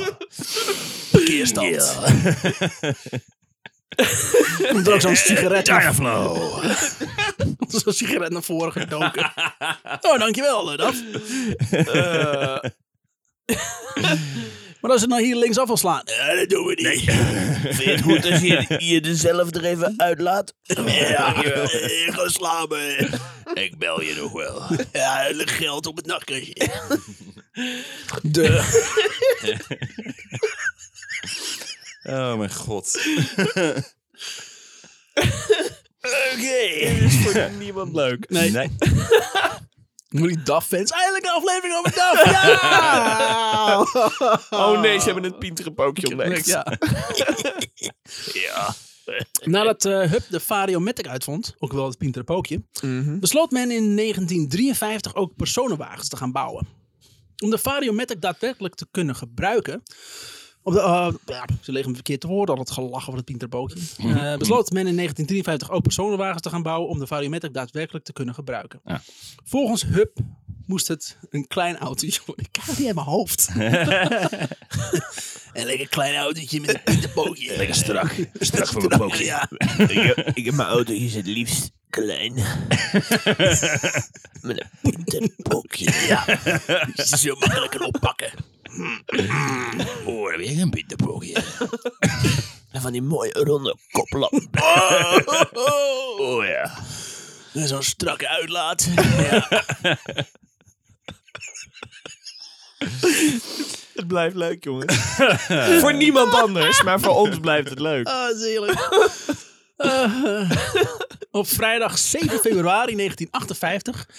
Verkeerstand.
Komt er ook zo'n sigaret naar
Dynaflow.
Zo'n sigaret naar voren gedoken.
<laughs>
Oh, dankjewel, eh, Daf.
Eh.
Maar als het nou hier linksaf wil slaan. eh, dat doen we <laughs> niet.
Vind je het goed als je je er zelf er even uitlaat? <laughs>
Ja, eh, ga slapen. Ik bel je nog wel. <laughs> Ja, er ligt geld op het nachtkastje.
<laughs>
De,
Oh mijn god.
Oké. Dit is voor niemand leuk.
nee,
Nee.
<laughs> moet die DAF-fans. Eindelijk een aflevering over
<laughs>
DAF. Ja!
<laughs> Oh nee, ze hebben het pintere pookje ontdekt.
Ja. Nadat eh Hub de variomatic uitvond, ook wel het Pinterpookje, besloot men in 1953 ook personenwagens te gaan bouwen. Om de variomatic daadwerkelijk te kunnen gebruiken. Op de, eh, ja, ze liggen hem verkeerd te woorden, al het gelach over het Pinterpookje. Eh besloot men in 1953 ook personenwagens te gaan bouwen om de variomatic daadwerkelijk te kunnen gebruiken.
Ja.
Volgens Hub moest het een klein autootje <laughs> worden. Ik krijg die in mijn hoofd. een lekker klein autootje met een Pinterpookje. Lekker strak.
Strak voor mijn pookje.
Ja.
<laughs> Ik, heb- ik heb mijn auto hier het liefst <laughs> klein. Met een
Pinterpookje. Ja. Zo makkelijk erop pakken.
Oh, dan weer een bitterpookje.
van die mooie ronde koplamp. Oh ja.
En Dus zo'n strakke
<laughs>
uitlaat.
<laughs> Het blijft leuk, jongen. voor niemand anders, maar voor ons blijft het leuk.
Ah, zielig. Eh, <laughs> op vrijdag 7 februari 1958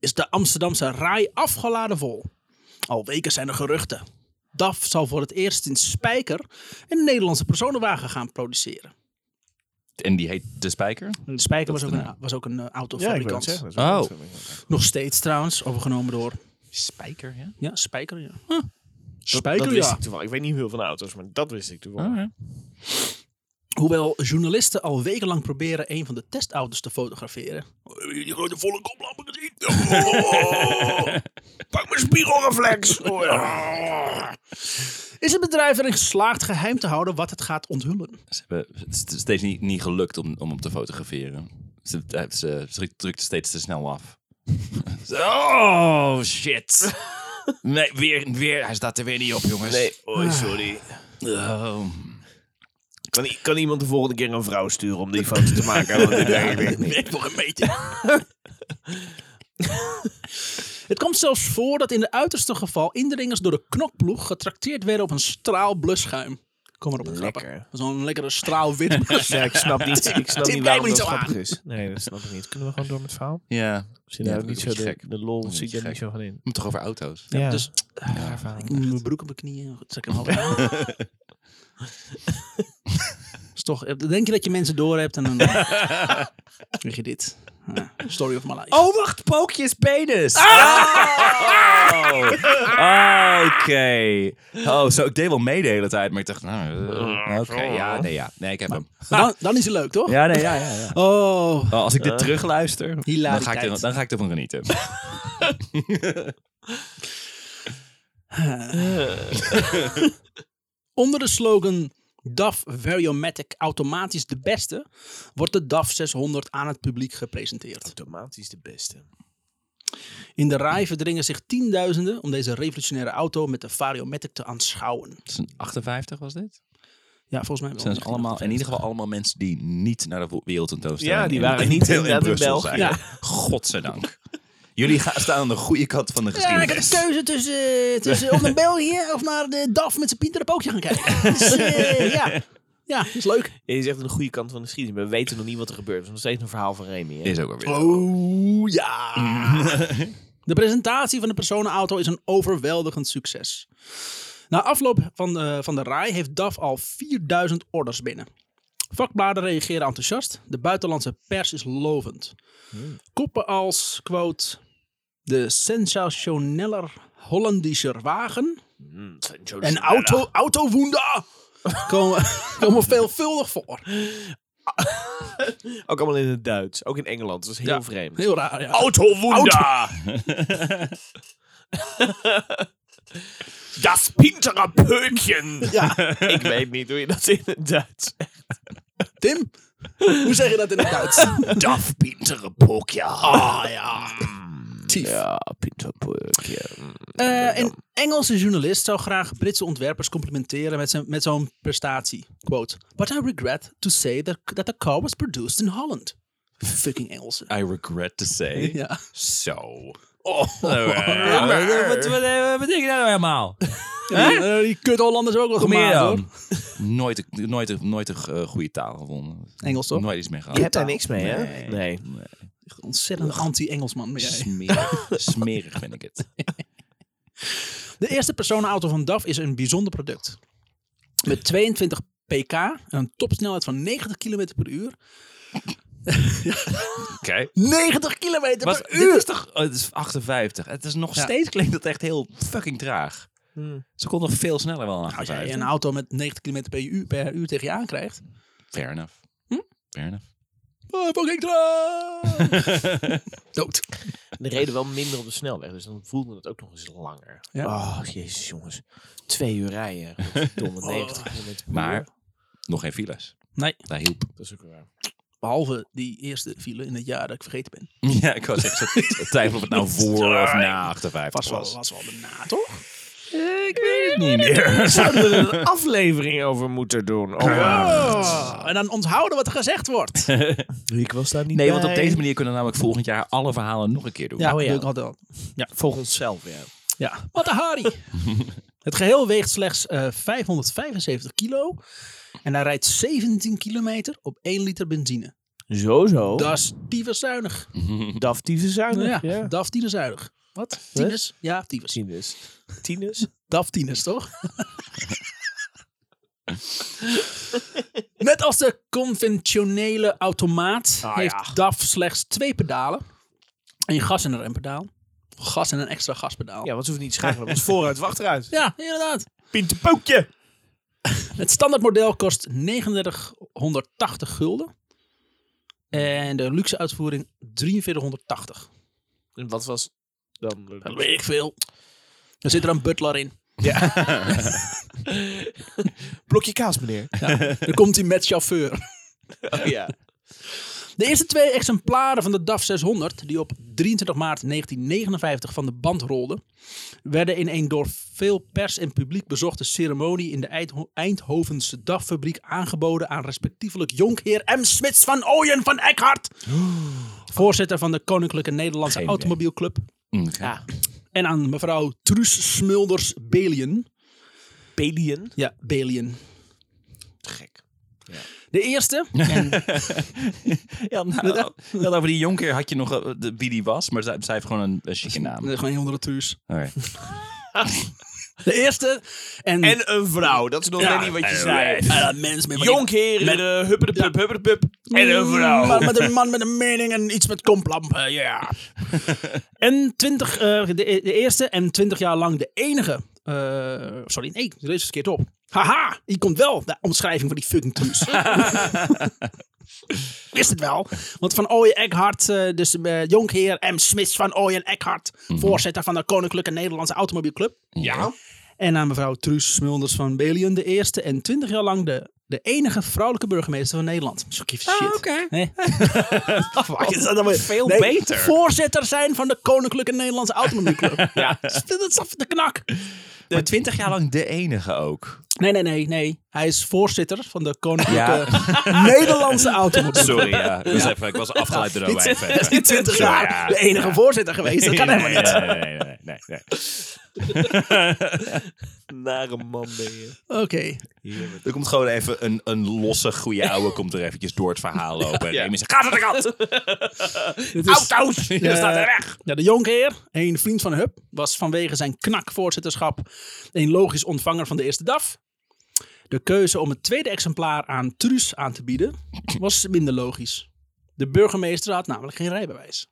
is de Amsterdamse RAI afgeladen vol. Al weken zijn er geruchten. DAF zal voor het eerst in Spijker een Nederlandse personenwagen gaan produceren.
En die heet De Spijker?
En Spijker was ook een, was ook een eh, autofabrikant.
Oh.
Nog steeds trouwens, overgenomen door...
Spijker, ja?
Ja, Spijker, ja.
Dat
Spijker,
wist
ja.
ik toevallig. Ik weet niet heel veel van auto's, maar dat wist ik
Ah.
toevallig.
Oh,
Hoewel journalisten al wekenlang proberen een van de testauto's te fotograferen. Oh, Hebben jullie die grote volle koplampen gezien? <laughs> Oh, pak mijn spiegelreflex. Oh, ja. Is het bedrijf erin geslaagd geheim te houden wat het gaat onthullen?
Ze hebben, het is het is steeds niet, niet gelukt om, om hem te fotograferen. Ze, hij- ze, ze drukt steeds te snel af. <laughs> Ze- oh, <laughs> shit. Nee, weer, weer, hij staat er weer niet op, jongens.
oh sorry.
Oh.
Kan, i- kan iemand de volgende keer een vrouw sturen om die foto te maken? Want dit werkt echt niet.
Werk nog een meter. het komt zelfs voor dat in het uiterste geval indringers door de knokploeg getrakteerd werden op een straal blusschuim. Kom maar op, een
Lekker.
grappen. Zo'n lekkere straal wit
Ja, ik snap <laughs> niet, ik snap
Tim, kijk
niet waarom
me niet
dat
zo aan.
grappig is. Nee, dat snap ik niet. Kunnen we gewoon door met het verhaal?
Ja.
Misschien
Ja,
daar
dat
niet
is
zo
een beetje
de,
gek.
de
Dat
lol
is
zit
een
er niet
beetje
zo van in.
Om toch over auto's.
Ja,
Dus
raar verhaal.
Ik doe mijn broek op mijn knieën. Goed, zet ik hem <laughs> half eh, <laughs> Is toch, denk je dat je mensen door hebt en dan. Weet je dit? Ja, story of my life.
Oh, wacht, pookje is penis. Oh. <laughs> Oké. Oh, zo, ik deed wel mee de hele tijd, maar ik dacht, nou, eh, oké, ja, nee, ja. Nee, ik heb hem.
Maar Dan, dan is het leuk, toch?
Ja, nee, ja, ja. ja.
Oh,
Oh, als ik dit terugluister, dan ga, ik
hilariteit.
er, dan ga ik ervan <laughs> genieten.
Onder de slogan DAF Variomatic automatisch de beste wordt de DAF 600 aan het publiek gepresenteerd.
Automatisch de beste.
In de rij verdringen zich tienduizenden om deze revolutionaire auto met de Variomatic te aanschouwen.
Het is een 58 was dit?
Ja, volgens mij wel.
Het zijn dus allemaal, in ieder geval allemaal mensen die niet naar de wo- wereldtentoonstelling
Ja, die
in-
waren
in,
niet
Bel- in,
inderdaad in
Brussel
België.
zijn. Godzijdank. Jullie gaan, staan aan de goede kant van de
Ja, ik had
geschiedenis.
de keuze tussen, eh, tussen of <laughs> naar België of naar de DAF met zijn pieteren pookje gaan <laughs> kijken. Dus, eh, ja. ja, is leuk.
En je zegt aan de goede kant van de geschiedenis. maar We weten nog niet wat er gebeurt. Het is nog steeds een verhaal van Remy. Hè?
Is ook alweer.
Oh ja. <laughs> De presentatie van de personenauto is een overweldigend succes. Na afloop van de, van de RAI heeft DAF al 4000 orders binnen. Vakbladen reageren enthousiast. De buitenlandse pers is lovend. Hmm. Koppen als, quote, de sensationeller Hollandischer wagen
Mm, zo
en
snel.
auto, autowunda komen, <laughs> komen veelvuldig voor.
Ook allemaal in het Duits. Ook in Engeland. Dat is heel vreemd.
Heel raar, ja.
Autowunder! <laughs> das pintere Pökchen!
ja.
Ik weet niet hoe je dat in het Duits zegt.
Tim, hoe zeg je dat in het
<laughs>
Duits?
DAF pintere Mm. pookje.
Ah ja. Tief.
Ja, pintere Pökchen.
Eh, een Engelse journalist zou graag Britse ontwerpers complimenteren met, zijn, met zo'n prestatie. Quote, but I regret to say that, that the car was produced in Holland. Fucking Engelsen.
I regret to say.
Ja.
Zo.
Oh.
Wat, betekent dat nou helemaal?
Eh, die kut Hollanders ook wel
Kom hier
gemaakt hoor.
dan. Nooit, een- nooit, een- nooit een eh, goede taal gevonden.
Engels, toch?
Nooit iets meer gehad.
Je hebt daar niks mee,
Nee.
hè? Nee.
Ontzettend anti-Engelsman ben jij.
Smerig, smerig vind ik
<laughs>
het.
De eerste personenauto van DAF is een bijzonder product. Met 22 pk en een topsnelheid van 90 km per uur.
Oké.
90 km
Was,
per
dit
uur!
is toch... oh, het is 58. Het is nog
Ja.
steeds klinkt dat echt heel fucking traag. Ze kon nog veel sneller wel aan
Nou, Als jij een auto met 90 km per uur, per uur tegen je aankrijgt.
Fair enough. Fair enough.
Oh, fucking traag!
<laughs>
Dood.
De reden wel minder op de snelweg, dus dan voelde het ook nog eens langer.
Ja.
Oh, jezus jongens. Twee uur <laughs> rijden. Domme 90 km per
Maar
uur.
nog geen files.
Nee.
Dat hielp. <laughs>
Dat is ook waar.
Behalve die eerste file in het jaar dat ik vergeten ben.
Ja, ik was echt zo twijfel of het nou voor of na 58
Was
was.
wel, was wel daarna, toch?
Ik weet het niet
meer.
<laughs> Zouden we er een aflevering over moeten doen? Oh,
En dan onthouden wat er gezegd
<laughs>
wordt.
Ik was daar niet
Nee, want op deze manier kunnen we namelijk volgend jaar alle verhalen nog een keer doen.
Ja,
Oh, ja.
<laughs>
ik had wel.
Volgens zelf, ja.
Ja, wat een Harry.
<laughs>
het geheel weegt slechts eh, 575 kilo. En hij rijdt 17 kilometer op 1 liter benzine.
Oh. Zo, zo.
Dat is tyfuszuinig.
Mm,
DAF zuinig.
Ja,
ja.
DAF tyfuszuinig. Wat? Tinus? Ja, tyfus.
Tinus. <laughs> Tinus?
DAF tinus,
<laughs>
toch? Net als de conventionele automaat
Ah,
heeft
ja.
DAF slechts twee pedalen. Een gas- en een rempedaal. Gas en een extra gaspedaal.
Ja, want ze hoeven niet te schakelen. want het is <laughs> vooruit, achteruit.
ja inderdaad.
Pintepootje.
Het standaardmodel kost 3980 gulden. En de luxe uitvoering 4380.
En wat was dan...
Dat weet ik veel. Er zit er een butler in.
Blokje kaas, meneer.
Dan komt hij met chauffeur.
Oh, <laughs> ja.
De eerste twee exemplaren van de DAF 600, die op 23 maart 1959 van de band rolden, werden in een door veel pers en publiek bezochte ceremonie in de Eindho- Eindhovense DAF-fabriek aangeboden aan respectievelijk jonkheer M. Smits van Ooyen van Eckhart, voorzitter van de Koninklijke Nederlandse
Geen idee.
Automobielclub.
Mm,
ja.
En aan mevrouw Truus Smulders Belien.
Belien.
Ja, Belien.
Gek.
De eerste. <laughs> En,
Ja, nou, wel over die jonker had je nog eh, de, wie die was, maar zij, zij heeft gewoon een, een chique naam.
gewoon een heel andere Truus.
Oké.
De eerste. En,
En een vrouw, dat is nog
ja,
net niet wat je
en-
zei.
en dat mens met
Jongheren,
Met-
eh, huppedepup, huppedepup. En een vrouw.
Mm, Maar met een man met een mening en iets met komplampen, ja.
<laughs>
en 20, eh, de, de eerste en 20 jaar lang de enige. eh, sorry, nee, ik lees het verkeerd op. Haha, hier komt wel de omschrijving van die fucking
<laughs>
truus. Wist het wel. Want Van Ooyen Eckhart, eh, dus eh, jonkheer M. Smits van Ooyen Eckhart,
Mhm.
voorzitter van de Koninklijke Nederlandse Automobielclub.
Ja.
En aan mevrouw Truus Smulders van Belien, de eerste en 20 jaar lang de, de enige vrouwelijke burgemeester van Nederland. Zo kief shit.
Ah, oké. <laughs>
Nee. Afwachten. Dat is dan weer-
Veel
Nee,
beter.
Voorzitter zijn van de Koninklijke Nederlandse
<laughs>
Automobielclub. ja. Dat is af de knak.
Maar twintig jaar lang de enige ook.
Nee, nee, nee, nee. Hij is voorzitter van de Koninklijke <laughs> Nederlandse Automobielclub.
Sorry, ja. Dat is even, ik was afgeleid door
<laughs> Dit
Owen.
is- dat is in 20 jaar
Ja.
de enige voorzitter geweest. Dat kan
Nee,
helemaal niet.
Nee, nee, nee. nee, nee.
Nare man ben je.
Oké.
Er komt gewoon even een, een losse goede ouwe komt er eventjes door het verhaal lopen. En Remy zegt, gaat aan de kant! Dus
Dit is-
Auto's! Je staat er weg!
Eh, Ja, de jonkheer, een vriend van Hub, was vanwege zijn knakvoorzitterschap een logisch ontvanger van de eerste DAF. De keuze om het tweede exemplaar aan Truus aan te bieden was minder logisch. De burgemeester had namelijk geen rijbewijs.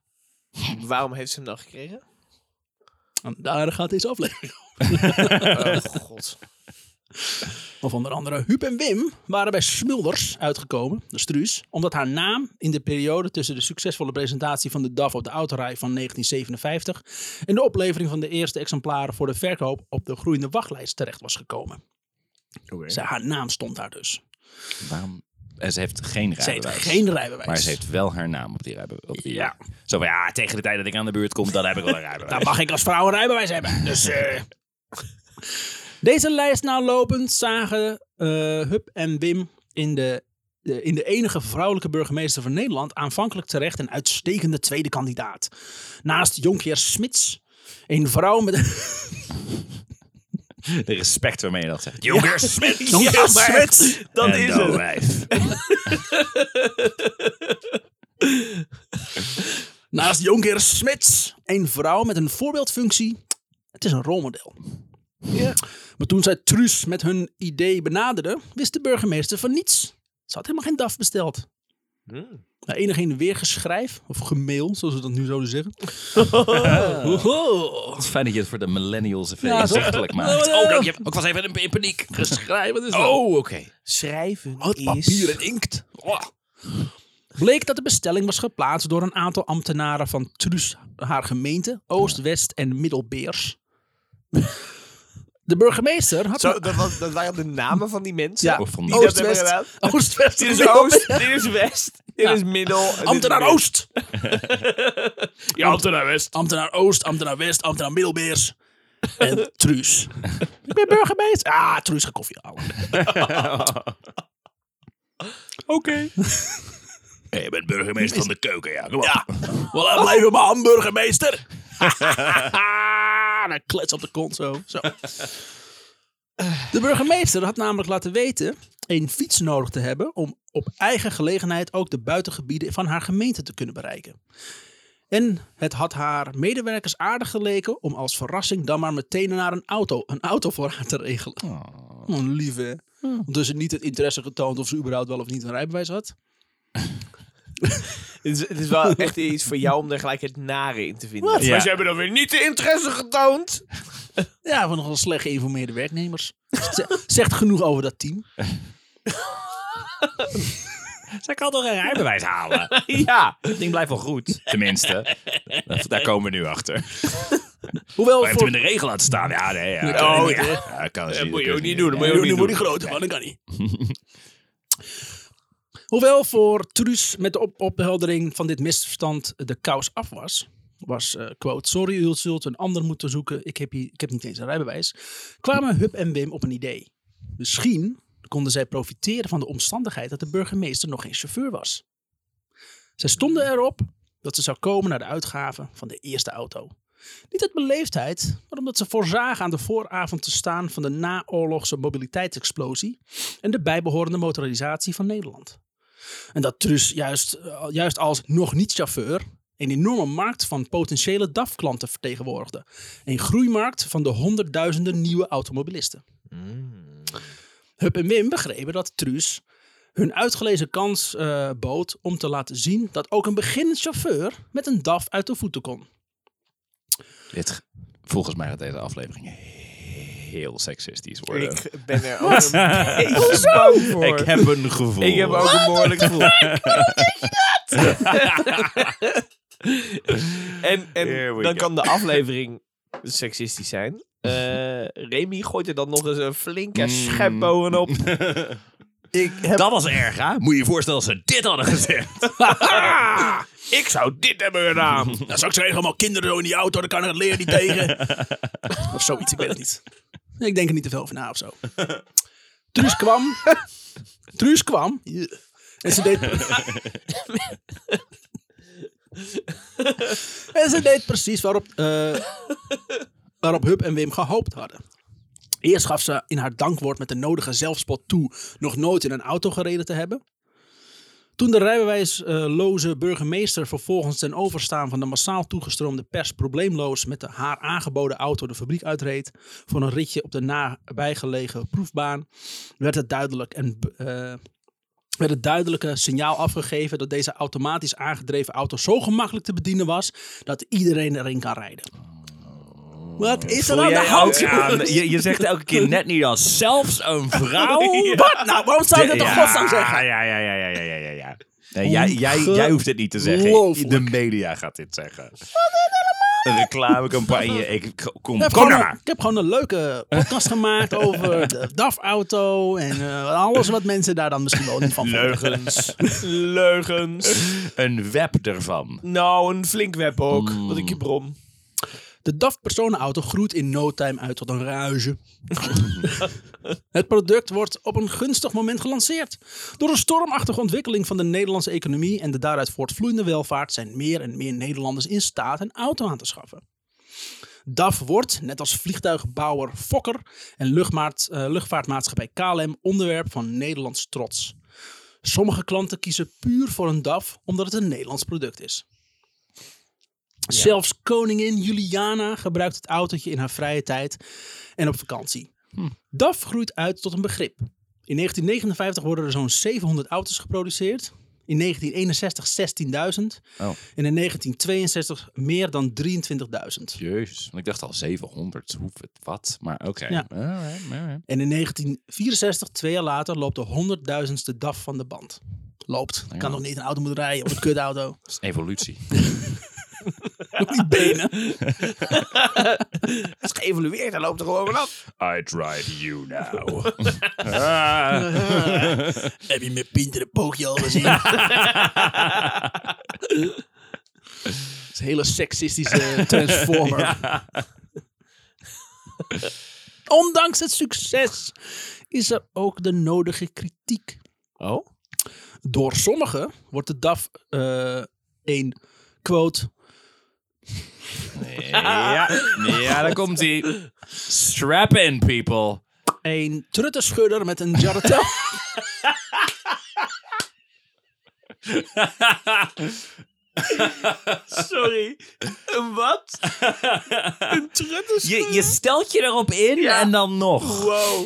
Waarom heeft ze hem dan gekregen?
En daar gaat deze aflevering.
Oh, god.
Of onder andere Huub en Wim waren bij Smulders uitgekomen, de Truus, omdat haar naam in de periode tussen de succesvolle presentatie van de DAF op de autorij van 1957 en de oplevering van de eerste exemplaren voor de verkoop op de groeiende wachtlijst terecht was gekomen. Ze, haar naam stond daar dus.
Waarom? En ze heeft geen
Ze heeft
rijbewijs.
geen rijbewijs.
Maar ze heeft wel haar naam op die rijbewijs. Op die,
Ja. Nou,
Zo van, ja, tegen de tijd dat ik aan de buurt kom, dan heb ik wel een rijbewijs.
Dan mag ik als vrouw een rijbewijs hebben. Dus, eh. Deze lijst nalopend zagen eh Hup en Wim in de, de- in de enige vrouwelijke burgemeester van Nederland aanvankelijk terecht een uitstekende tweede kandidaat. Naast jonkheer Smits, een vrouw met...
<laughs> De respect waarmee je dat zegt. Jonger
<laughs>
Smit!
Jonkheer Smits!
Dat is het.
Naast jonkheer Smits, een vrouw met een voorbeeldfunctie. Het is een rolmodel.
Ja.
Maar toen zij Truus met hun idee benaderde, wist de burgemeester van niets. Ze had helemaal geen DAF besteld.
Hmm.
Nou, enig in weergeschrijf, of gemail, zoals we dat nu zouden zeggen. Oho.
Het is fijn dat je het voor de millennials even
Ja, toch?
inzichtelijk maakt.
Oh, dank je.
Ik was even in, in paniek.
Geschrijven is
Oh, oké.
Schrijven
Wat
is...
papier en inkt. Bleek dat de bestelling was geplaatst door een aantal ambtenaren van Truus, haar gemeente, Oost, West en Middelbeers. De burgemeester had...
Zo, dat, was, dat waren de namen van die mensen?
ja,
Of van die-
Oost,
dat hebben
West,
gedaan.
Oost, West en
Dit is
Middelbeers.
<laughs> Oost, dit is West, dit
Ja.
is Middel. en dit is
<laughs> Ambtenaar
Midden.
Oost.
<laughs> Ja, Ambtenaar West.
Ambtenaar Oost, ambtenaar West, ambtenaar Middelbeers. En Truus. <laughs> Ik ben burgemeester. Ah, Truus, ga koffie halen.
Oké.
je bent burgemeester van de keuken, ja. Kom op.
Ja, voilà, blijf maar hamburgermeester. Ah, Dan klets op de kont zo. zo. De burgemeester had namelijk laten weten een fiets nodig te hebben om op eigen gelegenheid ook de buitengebieden van haar gemeente te kunnen bereiken. En het had haar medewerkers aardig geleken om als verrassing dan maar meteen naar een auto, een auto voor haar te regelen. Oh, een lieve. hè? Ondertussen niet het interesse getoond of ze überhaupt wel of niet een rijbewijs had.
Het, is, het is wel echt iets voor jou om er gelijk het nare in te vinden.
Wat?
Ja.
Maar ze hebben dan weer niet de interesse
<laughs>
getoond.
Ja, van nogal slecht geïnformeerde werknemers. Z- <laughs> Zegt genoeg over dat team.
Zij kan toch een rijbewijs halen?
ja.
Het ding blijft wel goed. Tenminste. Dat- Daar komen we nu achter. Maar
Hoewel
je hebt hem
voor...
in de regen laten staan. Ja, nee. Ja.
kan
Oh,
niet,
ja.
hè?
Ja, kan dus
Dat
niet,
moet je
kan
ook
dus
niet doen, dat moet je
Nu-
ook
nu
niet
moet
doen.
die grote man, dat kan niet. Hoewel voor Truus met de op opheldering van dit misverstand de kous af was, was, eh, quote, sorry, u zult een ander moeten zoeken, ik heb, hier, ik heb niet eens een rijbewijs, kwamen Hup en Wim op een idee. Misschien konden zij profiteren van de omstandigheid dat de burgemeester nog geen chauffeur was. Zij stonden erop dat ze zou komen naar de uitgave van de eerste auto. Niet uit beleefdheid, maar omdat ze voorzagen aan de vooravond te staan van de naoorlogse mobiliteitsexplosie en de bijbehorende motorisatie van Nederland. En dat Truus juist, eh, juist als nog niet chauffeur een enorme markt van potentiële DAF-klanten vertegenwoordigde. Een groeimarkt van de honderdduizenden nieuwe automobilisten.
Mm,
Hup en Wim begrepen dat Truus hun uitgelezen kans eh, bood om te laten zien dat ook een beginnend chauffeur met een DAF uit de voeten kon.
Dit, volgens mij gaat deze aflevering heel seksistisch worden. <laughs> Ik,
Ik ben er ook een beetje bang voor.
heb een gevoel.
Ik heb ook een behoorlijk gevoel. <laughs> en
Here
en
we
dan
go.
kan de aflevering seksistisch zijn. Eh Remy gooit er dan nog eens een flinke
Mm.
schep bovenop.
Ik heb... Dat was erg, hè? Moet je je voorstellen als ze dit hadden gezegd.
Ik zou dit hebben
<laughs>
gedaan.
<laughs> Dan zou ik zeggen, allemaal kinderen door in die auto, dan kan ik het leren niet <laughs> tegen. of zoiets, ik weet het niet. Ik denk er niet te veel over na of zo. <laughs> Truus kwam. <laughs> Truus kwam. En <laughs> ze deed... en ze deed precies waarop, eh, waarop Hub en Wim gehoopt hadden. Eerst gaf ze in haar dankwoord met de nodige zelfspot toe nog nooit in een auto gereden te hebben. Toen de rijbewijsloze burgemeester vervolgens ten overstaan van de massaal toegestroomde pers probleemloos met de haar aangeboden auto de fabriek uitreed voor een ritje op de nabijgelegen proefbaan, werd het duidelijk en eh, werd het duidelijke signaal afgegeven dat deze automatisch aangedreven auto zo gemakkelijk te bedienen was dat iedereen erin kan rijden. Wat is er aan de hand?
je, je zegt elke keer net niet als zelfs
<laughs>
een vrouw.
Wat nou? Waarom zou je dat toch godsnaam zeggen?
Ja, ja, ja, ja, ja, ja, ja. ja. Nee, jij, jij, jij hoeft dit niet te zeggen.
Ongelooflijk.
De media gaat dit zeggen. Een reclamecampagne. Ik, kom, kom,
Ik heb,
nou
gewoon een,
maar.
ik heb gewoon een leuke podcast gemaakt over de DAF-auto en eh, alles wat mensen daar dan misschien wel niet van vonden.
Leugens. Leugens.
Een web ervan.
Nou, een flink web ook.
Hmm.
Wat ik je brom.
De DAF-personenauto groeit in no time uit tot een ruige. het product wordt op een gunstig moment gelanceerd. Door een stormachtige ontwikkeling van de Nederlandse economie en de daaruit voortvloeiende welvaart zijn meer en meer Nederlanders in staat een auto aan te schaffen. DAF wordt, net als vliegtuigbouwer Fokker en luchtmaat- eh, luchtvaartmaatschappij KLM, onderwerp van Nederlands trots. Sommige klanten kiezen puur voor een DAF omdat het een Nederlands product is. Zelfs koningin Juliana gebruikt het autootje in haar vrije tijd en op vakantie. DAF groeit uit tot een begrip. In 1959 worden er zo'n 700 auto's geproduceerd. In 1961 16.000.
Oh.
En in 1962 meer dan 23.000.
Jezus. Want ik dacht al 700. Hoe, wat? Maar oké.
Ja.
Alright, alright.
En in 1964, twee jaar later, loopt de 100.000ste DAF van de band. Loopt. Kan nog niet een auto moeten rijden op een <laughs> kutauto.
Dat is evolutie.
Op die benen.
Het is geëvalueerd. Hij loopt er gewoon vanaf.
I drive you now.
Heb je mijn pintere pookje al gezien? <laughs> Dat is een hele seksistische transformer. <laughs> Ondanks het succes is er ook de nodige kritiek.
Oh?
Door sommigen wordt de DAF eh een quote
<laughs> ja, ja, daar komt hij. Strap in, people.
een truttenschudder met een jarretel. <laughs>
Sorry. Een wat? Een
Je,
truttenschudder?
je stelt je erop in en dan nog.
Wow.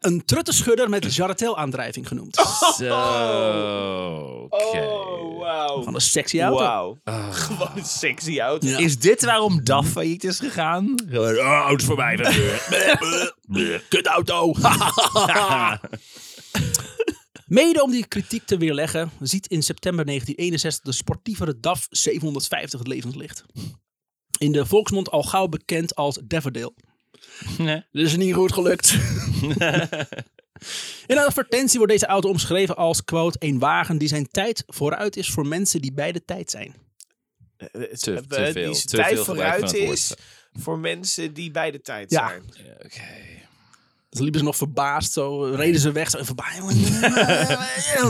een truttenschudder met jarretel aandrijving genoemd.
Oh. Zo. Oké.
Oh, wauw.
Van een sexy auto.
Wauw.
Ah.
Gewoon een sexy auto.
Ja.
Is dit waarom DAF failliet is gegaan? Nou. Oh, het is <laughs> voorbij de deur.
Kutauto. Mede om die kritiek te weerleggen, ziet in september 1961 de sportievere DAF 750 het levenslicht. In de volksmond al gauw bekend als Daverdale.
Nee.
Dit is niet goed gelukt. in een advertentie wordt deze auto omschreven als, quote, een wagen die zijn tijd vooruit is voor mensen die bij de tijd zijn.
te,
te veel,
eh, Die
te
tijd
veel gebruik
vooruit
van het
is voor mensen die bij de tijd
Ja.
zijn.
Oké.
Dus liepen ze nog verbaasd, zo reden ze weg, zo even bij. En dan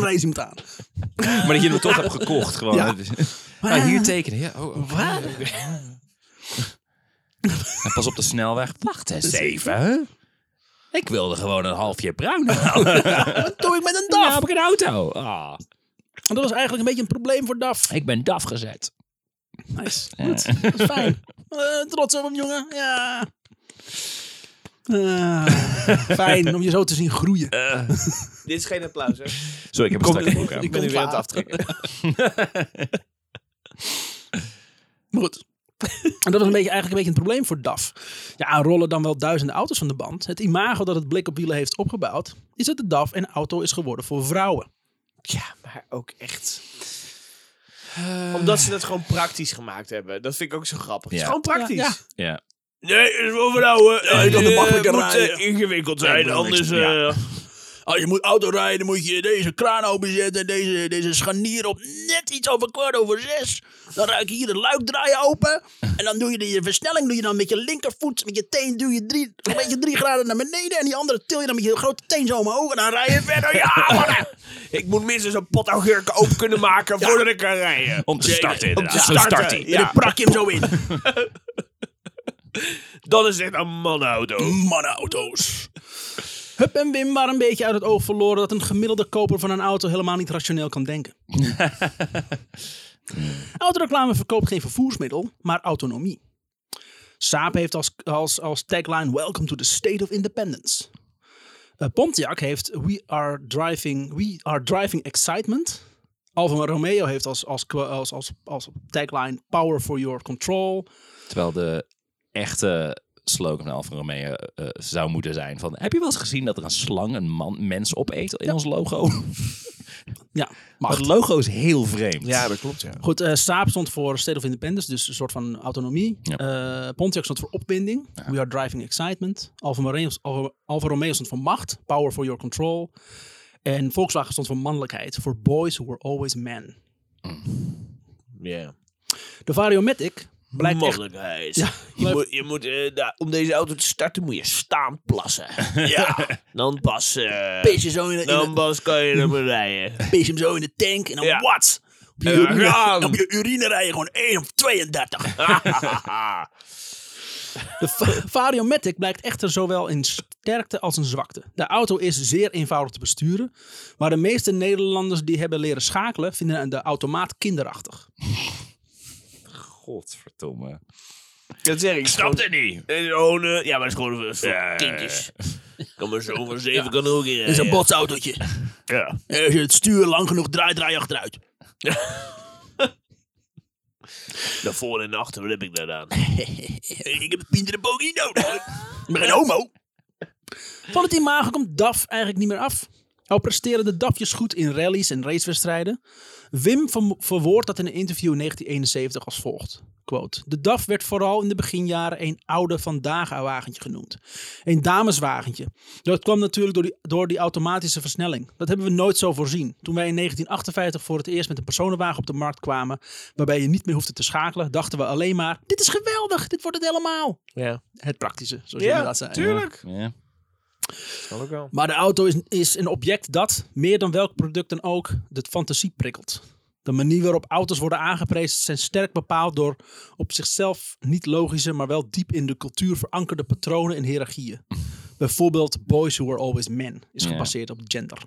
reed ze hem aan.
Maar dat je hem toch hebt gekocht, gewoon.
Ja.
Ah, hier tekenen. Ja, oh, oké. En pas op de snelweg. Wacht eens even.
<laughs>
Ik wilde gewoon een halfje bruin halen.
Wat doe ik met een DAF?
ik een auto. Nou, Ah.
En dat was eigenlijk een beetje een probleem voor DAF.
Ik ben DAF gezet.
Nice. Goed. Dat is fijn. Eh, trots op hem, jongen. Ja. Ah, fijn om je zo te zien groeien.
Eh.
Dit is geen applaus, hè? Ik
Zo, ik heb een strakke broek
ben
aan.
nu weer aan het
later.
aftrekken.
Maar goed. En dat was een beetje, eigenlijk een beetje een probleem voor DAF. Ja, rollen dan wel duizenden auto's van de band. Het imago dat het blik op wielen heeft opgebouwd, is dat de DAF een auto is geworden voor vrouwen.
Ja, maar ook echt. Omdat ze dat gewoon praktisch gemaakt hebben. Dat vind ik ook zo grappig. Het
Ja.
is gewoon praktisch.
Ja,
<laughs>
Oh,
Ja.
Nee, het is wel eh, vrouwen.
Ja, je kan er makkelijker rijden.
ingewikkeld
Ja, ik bedoel, ik- ja.
eh,
Als je moet auto rijden, moet je deze kraan openzetten, deze, deze scharnier op net iets over kwart over zes. Dan ruik je hier de luikdraai open. En dan doe je de je versnelling doe je dan met je linkervoet, met je teen duw je drie, een beetje drie graden naar beneden. En die andere til je dan met je grote teen zo omhoog. En dan rij je verder. Ja, mannen.
Nou Ik moet minstens een pot augurken open kunnen maken voordat ik kan rijden.
Om te starten,
Om te
inderdaad. Zo
starten.
start hij.
En dan
Ja,
prak je hem zo in.
dan is dit een manauto.
Mannenauto's. Hup en Wim waren een beetje uit het oog verloren dat een gemiddelde koper van een auto helemaal niet rationeel kan denken. Autoreclame verkoopt geen vervoersmiddel, maar autonomie. Saab heeft als, als, als tagline Welcome to the State of Independence. Eh, Pontiac heeft We are driving, we are driving excitement. Alfa Romeo heeft als, als, qua- als, als, als tagline Power for your control.
Terwijl de echte slogan van Alfa Romeo eh, zou moeten zijn van... Heb je wel eens gezien dat er een slang een man, mens opeet in ons logo?
Ja,
Het
macht.
logo is heel vreemd.
dat klopt, ja.
Goed, eh Saab stond voor State of Independence, dus een soort van autonomie.
Ja.
Eh, Pontiac stond voor opwinding. We are driving excitement. Alfa, Romeo, Alfa, Alfa Romeo stond voor macht. Power for your control. En Volkswagen stond voor mannelijkheid. Voor boys who were always men.
Ja.
De Variomatic blijkt echt...
Mogelijkheid.
Ja,
Je
blijft-
moet, je moet, eh, daar- om deze auto te starten moet je staan <laughs> plassen. ja. Dan pas, eh,
Pees je zo in de, in
dan
de,
pas kan je ermee rijden.
pees je hem zo in de tank en dan
Ja.
wat? Op je,
Ja,
urine,
gaan.
op je urine rij je gewoon 1 of 32. De Va- Variomatic blijkt echter zowel in sterkte als in zwakte. De auto is zeer eenvoudig te besturen, maar de meeste Nederlanders die hebben leren schakelen vinden de automaat kinderachtig.
Godverdomme.
<laughs> dat zeg ik. Snap
Snap het niet.
Gewoon, eh, ja, maar het is gewoon een voor
Ja.
kindjes. Kan maar zo van zeven kan er ook in
Het is
rijden.
een botsautootje.
Ja.
Als je het stuur lang genoeg draait, draai je achteruit.
<laughs> Naar voren en naar achter, wat heb ik daar aan?
<laughs> Ik heb een pintere bogie nodig. Ik ben geen homo. Van het imago komt DAF eigenlijk niet meer af. Al presteren de DAFjes goed in rallies en racewedstrijden. Wim verm- verwoordt dat in een interview in 1971 als volgt. Quote, de DAF werd vooral in de beginjaren een oude vandaag-wagentje genoemd. Een dameswagentje. Dat kwam natuurlijk door die, door die automatische versnelling. Dat hebben we nooit zo voorzien. Toen wij in 1958 voor het eerst met een personenwagen op de markt kwamen, waarbij je niet meer hoefde te schakelen, dachten we alleen maar: dit is geweldig, dit wordt het helemaal.
Ja,
Het praktische, zoals je
Ja,
inderdaad zei.
tuurlijk.
Ja.
Kan ook wel.
Maar de auto is, is een object dat, meer dan welk product dan ook, de fantasie prikkelt. De manier waarop auto's worden aangeprezen zijn sterk bepaald door op zichzelf niet logische, maar wel diep in de cultuur verankerde patronen en hiërarchieën. Bijvoorbeeld Boys Who Are Always Men is
Ja.
gebaseerd op gender.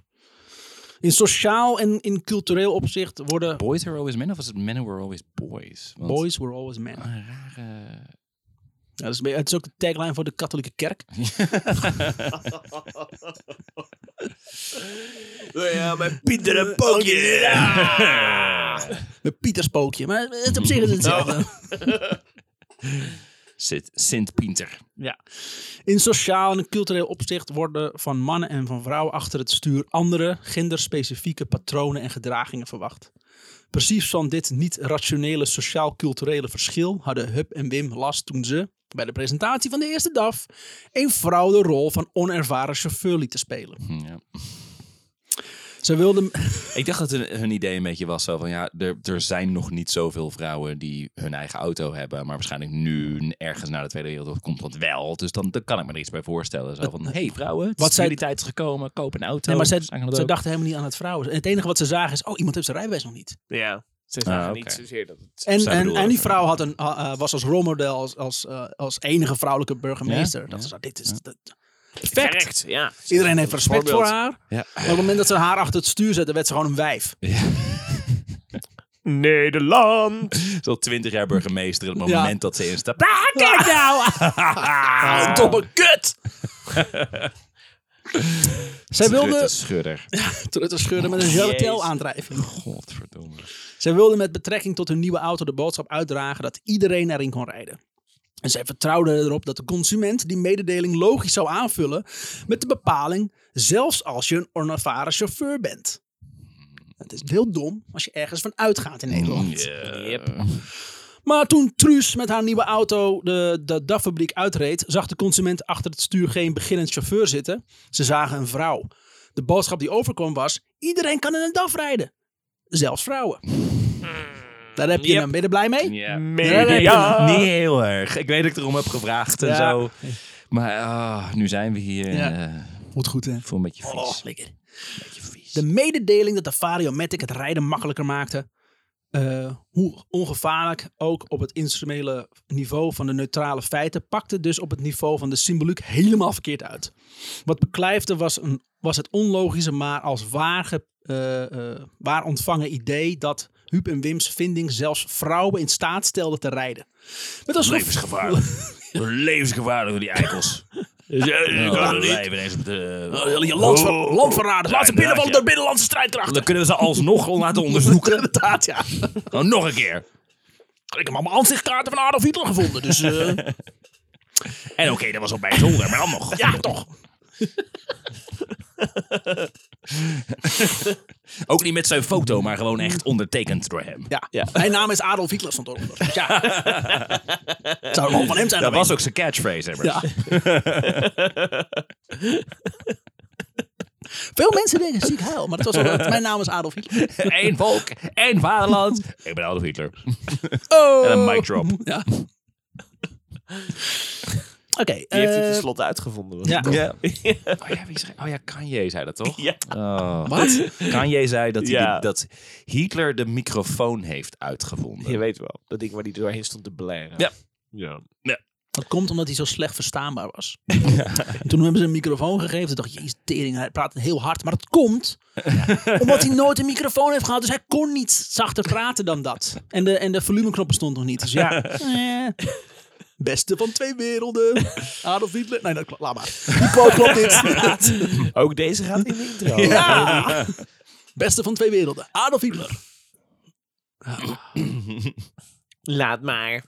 In sociaal en in cultureel opzicht worden
Boys are always men of was het men who are always boys? Want-
Boys Were Always Men.
Een rare...
Ja, dat is, een beetje- het is ook de tagline voor de katholieke
<laughs>
kerk.
Ja, mijn Pieter en Pookje.
Een Pieterspookje, maar het op zich is hetzelfde.
Sint, Sint Pieter.
Ja. In sociaal en cultureel opzicht worden van mannen en van vrouwen achter het stuur andere genderspecifieke patronen en gedragingen verwacht. Precies van dit niet-rationele sociaal-culturele verschil hadden Hup en Wim last toen ze, bij de presentatie van de eerste DAF, een vrouw de rol van onervaren chauffeur lieten spelen.
Hm, Ja.
Ze wilden.
Ik dacht dat hun, hun idee een beetje was zo van ja, er, er zijn nog niet zoveel vrouwen die hun eigen auto hebben. Maar waarschijnlijk nu ergens na de Tweede Wereldoorlog komt dat wel. Dus dan, dan kan ik me er iets bij voorstellen. Zo van, hey vrouwen, het
Wat
is
zij-
jullie tijd gekomen, koop een auto.
Nee, maar zij,
Ze gaan dat
zij
ook.
dachten helemaal niet aan het vrouwen. En het enige wat ze zagen is: oh, iemand heeft zijn rijbewijs nog niet.
Ja, ze
Ah,
zagen
oké.
niet zozeer dat het...
En,
Zij
en,
bedoelen
en die
even.
vrouw had een, ha- eh, was als rolmodel, als, als, eh, als enige vrouwelijke burgemeester.
Ja,
Dat
ja.
is, dit is dat- perfect.
Correct, ja.
Iedereen heeft respect voor
Voorbeeld.
haar.
Ja.
Maar op het moment dat ze haar achter het stuur zetten, werd ze gewoon een wijf.
Ja.
Nederland.
Ze is al twintig jaar burgemeester. Het
Ja.
moment dat ze instapt.
Ah,
<laughs>
kijk nou!
Ah,
Domme
<laughs>
kut! Zij wilde
Rutte Schudder.
Rutte scheuren met een gelatel
Jezus.
aandrijving.
Godverdomme.
Zij wilden met betrekking tot hun nieuwe auto de boodschap uitdragen dat iedereen erin kon rijden. En zij vertrouwden erop dat de consument die mededeling logisch zou aanvullen met de bepaling, zelfs als je een onervaren chauffeur bent. Het is heel dom als je ergens van uitgaat in Nederland.
Mm,
Yep.
Maar toen Truus met haar nieuwe auto de, de DAF-fabriek uitreed, zag de consument achter het stuur geen beginnend chauffeur zitten. Ze zagen een vrouw. De boodschap die overkwam was: iedereen kan in een DAF rijden. Zelfs vrouwen. Daar heb je
Hmm. Yep.
hem. Ben je er blij mee?
Ja.
Media.
Niet heel erg. Ik weet dat ik erom heb gevraagd en
Ja.
zo. Maar ah, nu zijn we hier.
Ja.
en, eh,
Moet goed, hè?
ik voel me een beetje vies.
Oh, lekker.
Een beetje vies.
De mededeling dat de Variomatic het rijden makkelijker maakte, eh, hoe ongevaarlijk ook op het instrumentele niveau van de neutrale feiten, pakte dus op het niveau van de symboliek helemaal verkeerd uit. Wat beklijfde was, een, was het onlogische, maar als waar, ge- eh, eh, waar ontvangen idee dat Huub en Wim's vinding zelfs vrouwen in staat stelde te rijden. Met als
Levensgevaarlijk.
<laughs>
Levensgevaarlijk door die eikels.
kan het niet.
niet.
landver, landverraders, laat ze binnen van de
inderdaad,
binnenlandse strijdkrachten.
Oh. Dan kunnen we ze alsnog
<laughs>
laten onderzoeken.
Inderdaad, ja. Nou,
Dan nog een keer.
Ik heb allemaal aanzichtkaarten van Adolf Hitler gevonden,
<laughs>
dus... eh,
En oké, dat was op mijn zolder, maar dan nog.
Ja, toch.
<laughs> Ook niet met zijn foto, maar gewoon echt ondertekend door hem.
Ja.
Ja.
<laughs> Mijn naam is Adolf Hitler,
<laughs>
stond eronder. Dus ja. Het zou wel van hem zijn
Dat
geweest.
was ook zijn catchphrase, hebben.
Ja. Veel mensen denken ziek huil, maar het was wel, mijn naam is Adolf Hitler.
<laughs> Eén volk, één vaderland. Ik ben Adolf Hitler.
Oh.
En een mic drop. <laughs>
Ja. Oké.
Die heeft hij
eh,
tenslotte uitgevonden. was
ja.
het toch?
Oh ja, wie zei, oh ja, Kanye zei dat
<laughs>
toch?
Ja.
Oh.
Wat?
Kanye zei dat, hij
Ja.
de- dat Hitler de microfoon heeft uitgevonden.
Je weet wel. Dat ding waar die doorheen stond te blaren.
Ja.
ja.
Dat komt omdat hij zo slecht verstaanbaar was. En Toen hebben ze een microfoon gegeven. Toen dacht ik, jezus, tering, hij praat heel hard. Maar dat komt omdat hij nooit een microfoon heeft gehad. Dus hij kon niet zachter praten dan dat. En de, en de volumeknop bestond nog niet. Dus ja, eh. beste van twee werelden. Adolf Hitler. Nee, dat klopt. Laat maar. Die quote klopt inderdaad.
Ook deze
<laughs>
gaat in de intro.
Ja. Beste van twee werelden. Adolf Hitler.
Laat maar.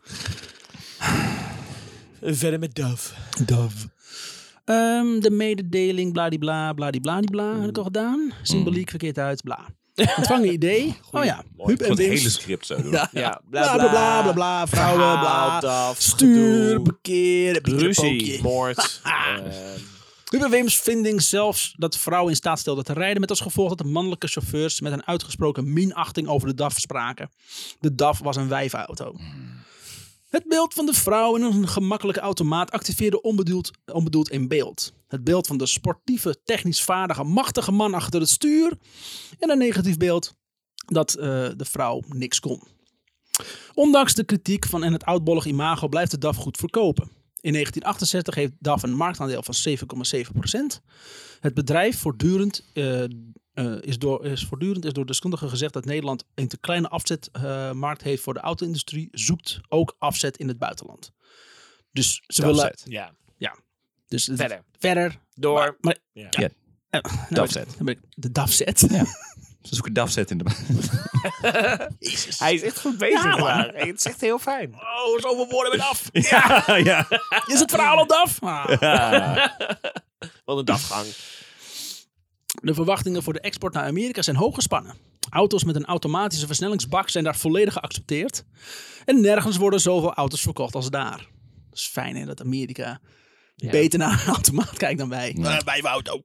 Verder met Dove.
Dove. Ehm, de mededeling, bladibla, bladibladibla, heb ik al gedaan. Symboliek verkeerd uit, bla. Mm. <laughs> Ontvangen idee. Oh ja, Huub
Van
en
het hele
Wims.
script zo doen.
Ja,
Ja, <laughs>
bla bla bla bla bla, vrouwen, bla.
Verhaal, DAF,
Stuur,
gedoe.
bekeer,
Ruzie,
pieterpookje. <laughs>
moord. ehm,
Huub en Wims vinding zelfs dat vrouwen in staat stelden te rijden... met als gevolg dat de mannelijke chauffeurs met een uitgesproken minachting over de DAF spraken. De DAF was een wijfauto. Het beeld van de vrouw in een gemakkelijke automaat activeerde onbedoeld, onbedoeld in beeld. Het beeld van de sportieve, technisch vaardige, machtige man achter het stuur. En een negatief beeld dat eh, de vrouw niks kon. Ondanks de kritiek van en het oudbollig imago blijft de DAF goed verkopen. In 1968 heeft DAF een marktaandeel van 7,7%. Het bedrijf voortdurend, eh, eh, is door, is voortdurend is door deskundigen gezegd dat Nederland een te kleine afzetmarkt heeft voor de auto-industrie, zoekt ook afzet in het buitenland. Dus ze willen.
Dafzet.
ja,
Dus het-
verder.
Verder.
Door.
Maar, maar,
ja.
Ja.
eh, nou,
Dafzet.
dan ben ik- De DAF-set.
Ze zoeken Dafzet in de... <laughs>
Hij is echt goed bezig.
Dus- Ja, man.
maar. Het is echt heel fijn.
Oh, zoveel woorden met af.
Ja, ja.
<laughs> Is het verhaal al DAF? Ah.
Wat een daggang.
De verwachtingen voor de export naar Amerika zijn hoog gespannen. Auto's met een automatische versnellingsbak zijn daar volledig geaccepteerd. En nergens worden zoveel auto's verkocht als daar. Dat is fijn hè, dat Amerika beter naar een <laughs> automaat kijkt dan wij.
Ja.
Eh, wij hebben auto.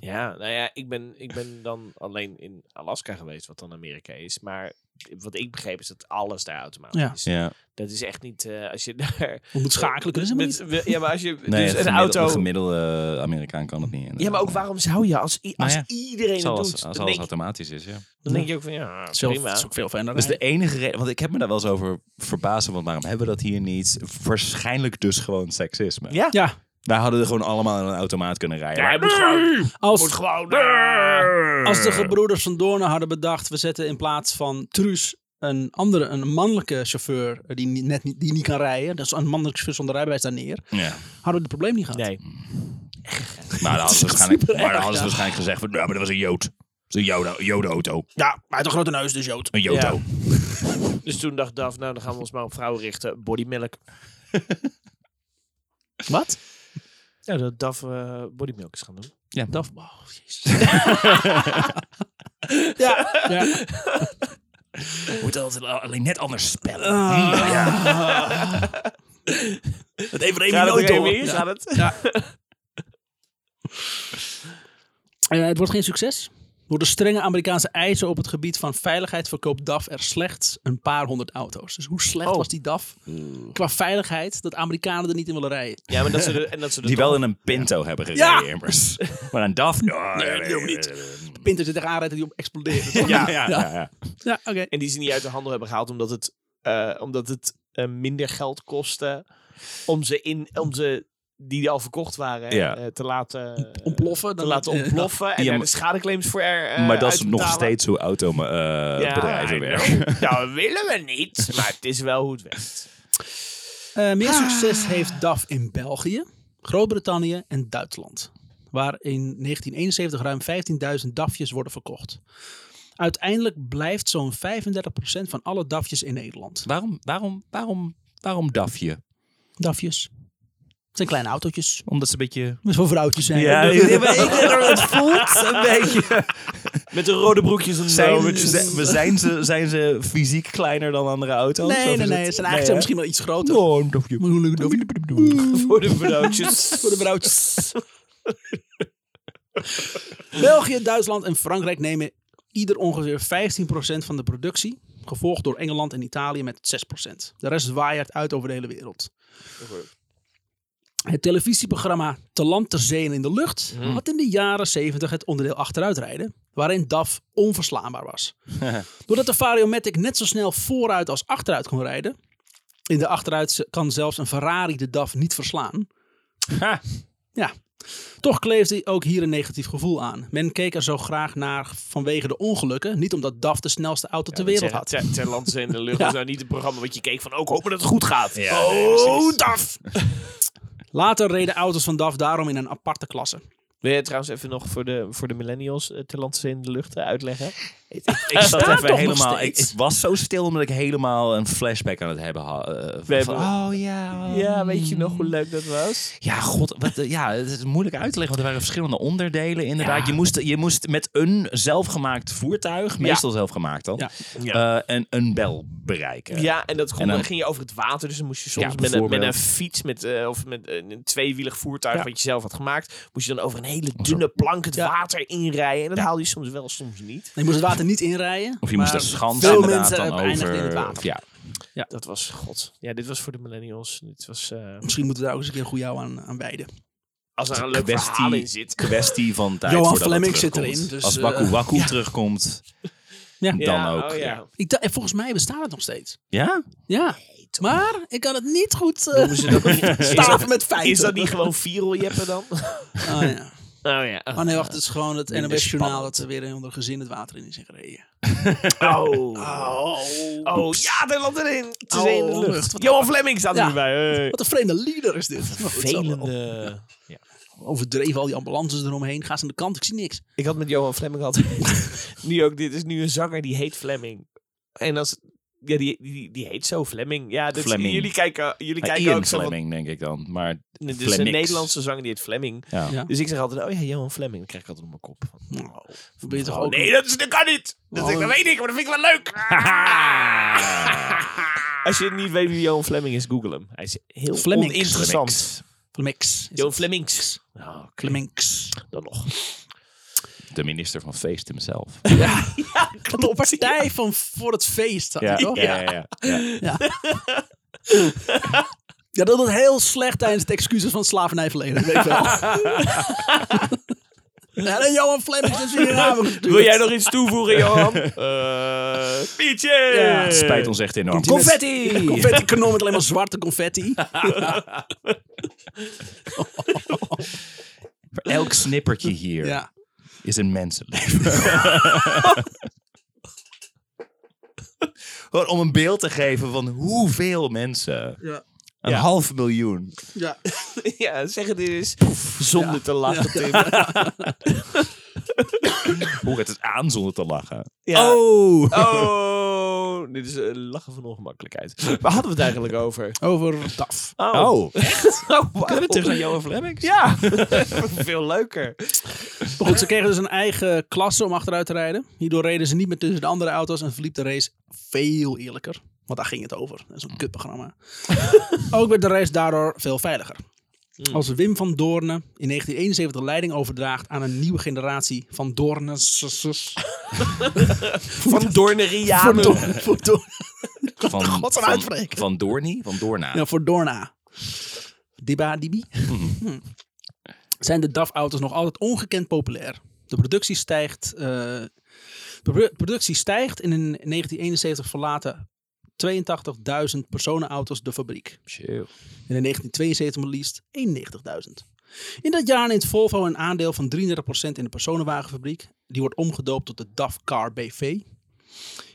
Ja, nou ja, ik ben, ik ben dan alleen in Alaska geweest, wat dan Amerika is. Maar wat ik begreep is dat alles daar automatisch
Ja.
is.
ja.
Dat is echt niet eh, als je daar.
We moeten schakelen, kunnen ze maar niet.
Met, we- ja, maar als je.
Nee,
dus
het
een
gemiddelde-
auto.
De gemiddelde eh, Amerikaan kan het niet. eh. inderdaad.
Ja, maar ook waarom zou je als, i- als
Nou
iedereen het
Zal
doet?
als,
dan,
als
denk,
alles
je-
automatisch is, ja.
dan denk je ook van ja,
Zelf-
prima.
is ook veel fijner.
Dat is Dus de enige reden, want ik heb me daar wel eens over verbazen, want waarom hebben we dat hier niet? Waarschijnlijk dus gewoon seksisme.
Ja.
Ja,
Wij hadden er gewoon allemaal in een automaat kunnen rijden.
Ja,
Wij
je moet
hebben-
gewoon. Oh, moet
als,
gewoon
als de gebroeders van Doornen hadden bedacht... we zetten in plaats van Truus een andere, een mannelijke chauffeur eh, die ni- net niet, die niet kan rijden, dus een mannelijke chauffeur zonder rijbewijs daar neer,
Ja.
hadden we het probleem niet gehad.
Nee.
Maar dan hadden ze waarschijnlijk,
super
maar dan
erg,
hadden ze
ja.
waarschijnlijk gezegd: van, ja, maar dat was een Jood. Dat is een Joden- Jodenauto.
Ja, maar hij had een grote neus, dus jood.
Een Jodo.
Ja. Dus toen dacht Daf, nou dan gaan we ons maar op vrouwen richten.
<laughs>
Bodymilk.
Wat?
Ja, dat Daf eh, bodymilk is gaan doen.
Dat, oh, <laughs> jezus. ja, ja.
Moet altijd alleen net anders spellen.
Ah.
Dat heeft
Gaat het
nooit
nog
door.
even in? Gaat het?
Eh, het wordt geen succes. Door de strenge Amerikaanse eisen op het gebied van veiligheid verkoopt DAF er slechts een paar honderd auto's. Dus hoe slecht
Oh.
was die DAF qua veiligheid dat Amerikanen er niet in willen rijden?
Ja, maar dat ze er, en dat ze er
Die
toch-
wel in een pinto hebben gereden,
Ja.
immers. Maar een DAF? Ja,
Nee, dat doen we niet. Pinter zit tegenaan rijdt en die op explodeert.
Hmm. Ja, ja, ja. ja.
ja oké.
En die ze niet uit de handel hebben gehaald omdat het, eh, omdat het eh, minder geld kostte om ze in, om ze die al verkocht waren,
Ja.
eh, te laten
Ontploffen.
te
dan-
laten
eh,
ontploffen en
Ja,
daar
maar-
de schadeclaims voor er, eh,
maar dat is
uit te
nog
betalen.
steeds hoe autobedrijven
Ja,
bedrijven
I
werken.
<laughs> know. Dat willen we niet, maar het is wel hoe het werkt.
Eh, meer succes heeft DAF in België, Groot-Brittannië en Duitsland. Waar in 1971 ruim 15.000 DAFjes worden verkocht. Uiteindelijk blijft zo'n 35% van alle DAFjes in Nederland.
Waarom, waarom, waarom, waarom DAFje?
DAFjes. Het zijn kleine autootjes.
Omdat ze een beetje...
Dat is voor vrouwtjes zijn.
het voelt een beetje...
Met de rode broekjes en
Zijn,
zo.
zijn, zijn, ze, zijn ze fysiek kleiner dan andere auto's? Of
Nee,
is
nee,
het-
nee. Ze zijn eigenlijk
hè?
misschien wel iets groter.
Oh, een DAFje.
Maar hoe leuk dat-
<laughs> voor de vrouwtjes.
voor de vrouwtjes. België, Duitsland en Frankrijk nemen ieder ongeveer 15% van de productie. Gevolgd door Engeland en Italië met 6%. De rest waaiert uit over de hele wereld. Het televisieprogramma Te land, ter zee en in de lucht had in de jaren 70 het onderdeel achteruitrijden, waarin DAF onverslaanbaar was. Doordat de Variomatic net zo snel vooruit als achteruit kon rijden, in de achteruit kan zelfs een Ferrari de DAF niet verslaan, toch kleefde ook hier een negatief gevoel aan. Men keek er zo graag naar vanwege de ongelukken, niet omdat DAF de snelste auto ter wereld had.
Ter, ter land zijn in de lucht
Ja.
is nou niet een programma wat je keek van, oh, ik hoop maar dat het goed gaat.
Ja,
oh,
nee, precies.
DAF!
Later reden auto's van DAF daarom in een aparte klasse.
Wil je trouwens even nog voor de, voor de millennials uh, in de lucht eh, uitleggen?
Ik zat
Staat toch
even
nog
helemaal. Ik,
steeds?
ik was zo stil omdat ik helemaal een flashback aan het hebben had. eh,
We
van-
hebben-
Oh ja.
Ja, weet je nog hoe leuk dat was?
Ja, god. Wat, eh, ja, het is moeilijk uit te leggen, want er waren verschillende onderdelen inderdaad. Je, moest, je moest met een zelfgemaakt voertuig, meestal zelfgemaakt dan,
Ja.
eh, een, een bel bereiken.
Ja, en dat kon,
En dan-
dan ging je over het water, dus dan moest je soms
Ja,
met, een, met
bijvoorbeeld.
een fiets met, eh, of met een, een tweewielig voertuig
Ja.
wat je zelf had gemaakt, moest je dan over een hele dunne plank het
Ja.
water inrijden. En dat haalde je soms wel, soms niet.
Je moest het water niet inrijden.
Of je moest
maar
een schans
veel
inderdaad
mensen
dan
eindigden
over.
in het water.
Ja.
Dat was, god. Ja, dit was voor de millennials. Dit was, eh,
Misschien moeten we daar ook eens een keer goed jou aan, aan wijden.
als er een
een
leuk
kwestie-
verhaal in zit.
Kwestie van
<laughs>
tijd.
Johan
voordat het
Fleming zit
terugkomt.
erin, dus,
Als
eh,
Waku Waku terugkomt,
Ja.
dan
Ja,
ook.
oh
ja.
ja.
Ik dacht- en volgens mij bestaat het nog steeds.
Ja?
Ja, maar ik kan het niet goed eh, <laughs>
Is dat-
staven met feiten.
Is dat niet gewoon viraljeppen dan? <laughs> Oh
Oh, ja.
ja.
oh nee, wacht. Het is gewoon het
Minder
NOS-journaal
spannend.
dat er weer een ander gezin het water in is gereden.
Oh. Oh, ja, daar landt erin. Het is
Oh,
in de lucht.
wat-
Johan Fleming staat er
Ja.
nu bij. Hey.
Wat een vreemde leader is dit. Maar goed, zo-
Vervelende.
Overdreven al die ambulances eromheen. Gaan ze aan de kant. Ik zie niks.
Ik had met Johan Fleming altijd. <laughs> nu ook, dit is nu een zanger die heet Fleming. En als. Ja, die, die, die heet zo Fleming. Ja, dat
Fleming.
jullie kijken, jullie
Ja,
kijken
Ian
ook zo. van-
Fleming, denk ik dan. Maar
Dit is een
Flemmings.
Nederlandse zanger die heet Fleming.
ja.
Ja.
Dus ik zeg altijd, oh ja, Johan Fleming. Dan krijg ik altijd op mijn kop. Van,
Nou, ben je toch ook...
Oh. nee, dat, is, dat kan niet. Dat,
Oh.
zeg ik, dat weet ik, maar dat vind ik wel leuk. <laughs> Als je niet weet wie Johan Fleming is, google hem. Hij is heel
Flemings.
oninteressant.
Flemings.
Johan Flemings. Oh,
Flemings.
dan nog.
De minister van Feest hemzelf.
De partij van voor het
<laughs>
feest. had hij toch?
ja, ja, ja.
Ja, dat was heel slecht tijdens het excuses van het slavernijverleden. Weet ik
<laughs>
wel. ja, en Johan Flemings is hier aan
Wil jij nog iets toevoegen, Johan? <laughs> Eh, Pietje!
Ja,
Spijt ons echt enorm.
Komt-
Confetti!
Confetti kanon met alleen maar zwarte confetti.
Voor elk snippertje hier
Ja.
is een mensenleven. <laughs> Gewoon om een beeld te geven van hoeveel mensen.
Ja.
Een
Ja.
half miljoen.
Ja.
<laughs> ja, dus- zeg het eens. Zonder te lachen, Tim.
Hoe gaat het aan zonder te lachen?
Ja.
Oh!
<laughs> Oh, dit is eh, lachen van ongemakkelijkheid. Waar hadden we het eigenlijk over?
Over DAF.
Oh,
<laughs> Oh, wauw.
kunnen we
<laughs>
terug naar Johan Flemmings?
Ja, veel leuker.
Maar goed, ze kregen dus een eigen klasse om achteruit te rijden. Hierdoor reden ze niet meer tussen de andere auto's en verliep de race veel eerlijker. Want daar ging het over. Dat is een kutprogramma. Ook werd de race daardoor veel veiliger. Als Wim van Doorne in 1971 leiding overdraagt aan een nieuwe generatie van Doornes.
<laughs> Van
Voor
Doornerianen.
<laughs> Doorn- voor Doorn-
<laughs> Van,
God, zo'n
van,
uitspreken.
van Doornie? Van Doorna?
Ja, Nou, voor Dorna. Diba Dibi. Hm. <laughs> Zijn de DAF-auto's nog altijd ongekend populair? De productie stijgt. eh, produ- productie stijgt en in 1971 verlaten 82.000 personenauto's de fabriek. En in 1972 maar liefst 91.000. In dat jaar neemt Volvo een aandeel van 33% in de personenwagenfabriek. Die wordt omgedoopt tot de DAF Car BV. En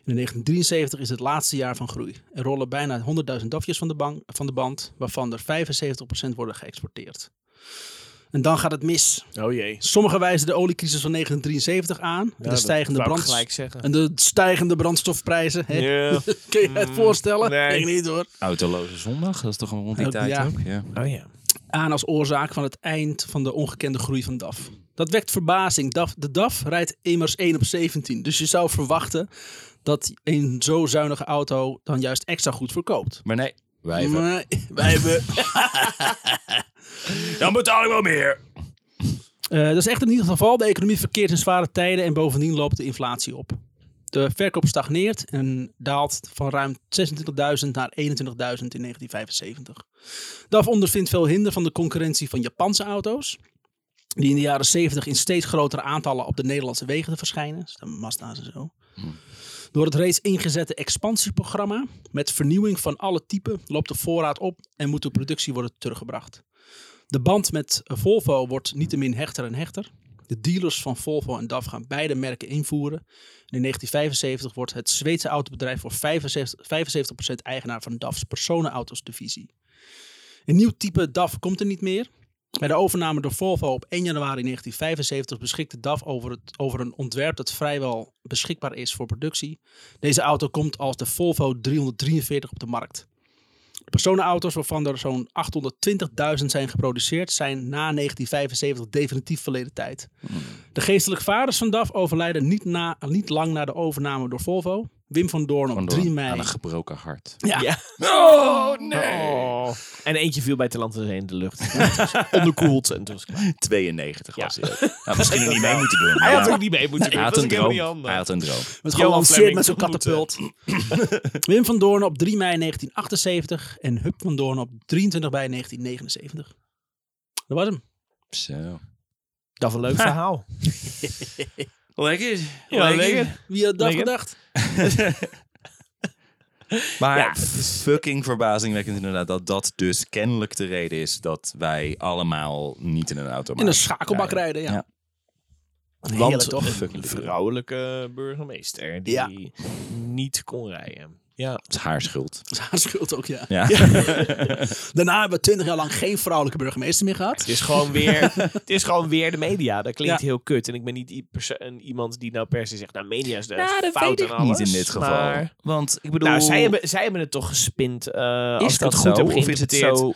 in 1973 is het laatste jaar van groei. Er rollen bijna 100.000 DAFjes van de, bank, van de band, waarvan er 75% worden geëxporteerd. En dan gaat het mis.
Oh jee.
Sommigen wijzen de oliecrisis van 1973 aan. en de stijgende
wou ik
brands-
gelijk zeggen.
En de stijgende brandstofprijzen. Hè?
Ja.
<laughs>
Mm.
Kun je het voorstellen?
nee.
Ik niet hoor.
Autoloze zondag, dat is toch rond die
Ook-
tijd
ja.
ook? Ja.
<laughs> Oh ja.
aan als oorzaak van het eind van de ongekende groei van DAF. Dat wekt verbazing. DAF, de DAF rijdt immers 1 op 17. Dus je zou verwachten dat een zo zuinige auto dan juist extra goed verkoopt.
Maar nee, wij hebben...
Maar <laughs> wij hebben...
Dan betaal ik wel meer.
Eh, dat is echt niet het geval. De economie verkeert in zware tijden en bovendien loopt de inflatie op. De verkoop stagneert en daalt van ruim 26.000 naar 21.000 in 1975. DAF ondervindt veel hinder van de concurrentie van Japanse auto's. Die in de jaren 70 in steeds grotere aantallen op de Nederlandse wegen te verschijnen. Dus de Mazda's en zo. Door het reeds ingezette expansieprogramma met vernieuwing van alle typen loopt de voorraad op en moet de productie worden teruggebracht. De band met Volvo wordt niettemin hechter en hechter. De dealers van Volvo en DAF gaan beide merken invoeren. En in 1975 wordt het Zweedse autobedrijf voor 75, 75% eigenaar van DAF's personenauto's divisie. Een nieuw type DAF komt er niet meer. Bij de overname door Volvo op 1 januari 1975 beschikte DAF over, het, over een ontwerp dat vrijwel beschikbaar is voor productie. Deze auto komt als de Volvo 343 op de markt. De personenauto's, waarvan er zo'n 820.000 zijn geproduceerd, zijn na 1975 definitief verleden tijd. De geestelijke vaders van DAF overlijden niet, na, niet lang na de overname door Volvo. Wim van Doorn op
Van
3
door-
mei.
Aan een gebroken hart.
Ja.
<laughs> Oh, nee.
Oh. En eentje viel bij Talant en Zee in de <laughs> lucht. Onderkoeld en toen was het klaar.
92 was hij. ook. Nou, misschien niet mee moeten doen. maar
Hij
ja.
had ook niet mee moeten doen.
Hij had
dat
een
was ook helemaal
droom.
niet
Hij
handig.
had een droom.
Met
Johan
gelanceerd
Fleming
met zo'n
ontmoeten.
katapult. <clears throat> Wim van Doorn op 3 mei 1978 en Hup van Doorn op 23 mei 1979. Dat was hem.
Zo.
Dat was een <laughs> leuk verhaal.
Lekker.
Ja, lekker.
Wie had dat
Lekker.
gedacht?
Maar
Ja, het is-
fucking verbazingwekkend inderdaad dat dat dus kennelijk de reden is dat wij allemaal niet in een auto
In een schakelbak rijden, ja.
Ja.
Heerlijk,
Want
toch? <laughs>
een vrouwelijke burgemeester die
Ja.
niet kon rijden. Ja.
Het is haar schuld.
Dat is haar schuld ook, ja.
<laughs> Ja.
Daarna hebben we twintig jaar lang geen vrouwelijke burgemeester meer gehad.
Het is,
<laughs>
gewoon weer, het is gewoon weer de media. Dat klinkt
Ja.
heel kut. En ik ben niet i- perso- een- iemand die nou per se zegt... Nou, media is de
Nou, dat
fout
weet ik
en alles.
niet in dit geval.
maar-
Want ik bedoel...
Nou, zij hebben, zij hebben het toch gespind. eh als ik
dat
het goed
zo?
heb
Of is het
geïnterpreteerd. zo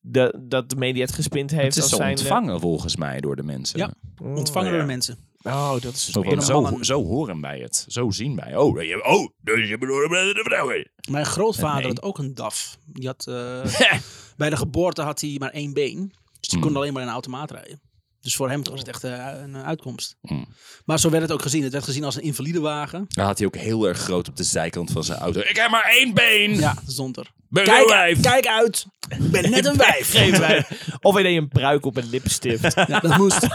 dat, dat de media het gespind heeft.
het is
als
zo
zijn,
ontvangen volgens mij door de mensen.
Ja.
eh,
Ontvangen
oh,
door
ja.
de mensen.
Oh, dat is
Zo, van,
Helemaal
zo,
een-
zo horen wij het. Zo zien wij. Oh, je, oh dus je bedoelt de vrouwen.
Mijn grootvader
Nee.
had ook een DAF. Die had, eh, bij de geboorte had hij maar één been. Dus die kon
Hmm.
alleen maar in een automaat rijden. Dus voor hem was het echt eh, een uitkomst.
Hmm.
Maar zo werd het ook gezien. Het werd gezien als een invalide wagen.
Dan had hij ook heel erg groot op de zijkant van zijn auto. Ik heb maar één been.
Ja, zonder.
Ben een
Kijk,
wijf.
kijk uit. Ik ben net een wijf.
Geen wij. Of hij deed een pruik op een
<laughs>
lipstift.
<laughs> Ja, dat moest.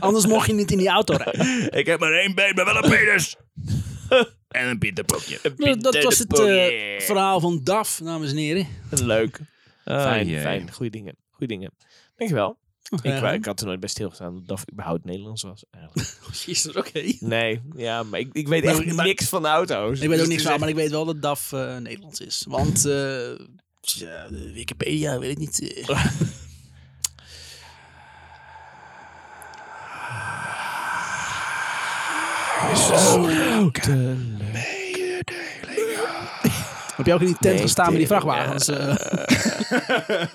Anders mocht je niet in die auto rijden.
Ik heb maar één been, maar wel
<laughs>
een penis. en een pieterpokje.
Dat, dat was het eh,
Yeah.
verhaal van DAF, dames en heren.
<laughs> Leuk. Ah, fijn,
jee.
fijn. Goeie dingen. Goeie dingen. Dankjewel. Ik,
Ja.
wou- ik had er nooit bij stilgestaan dat DAF überhaupt Nederlands was.
<laughs>
Eigenlijk.
Jezus, oké.
Nee, ja, maar ik, ik weet
Maar-
echt
maar-
niks van auto's.
Ik weet
Dus
ook niks
het
van,
is
maar ik weet wel dat DAF eh, Nederlands is. Want eh, ja, Wikipedia, weet ik niet. <laughs> eh. Heb jij ook in die tent
Nee,
gestaan met die
tering,
vrachtwagens? eh?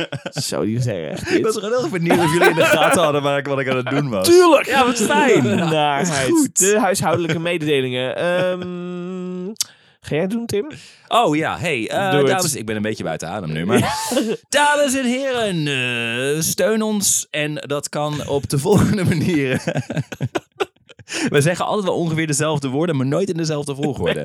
echt- Zo die zeggen
<laughs>
echt dit.
wel heel erg benieuwd of jullie in de gaten hadden waar ik, wat ik aan het doen was.
Tuurlijk! Ja, wat fijn! Naarheid.
goed.
De huishoudelijke mededelingen. Ehm, <laughs> ga jij het doen, Tim?
Oh ja, hey, eh,
Doe het.
dames, ik ben een beetje buiten adem nu,
<laughs>
maar... dames en heren, eh, steun ons en dat kan op de volgende manieren. <laughs> We zeggen altijd wel ongeveer dezelfde woorden, maar nooit in dezelfde volgorde.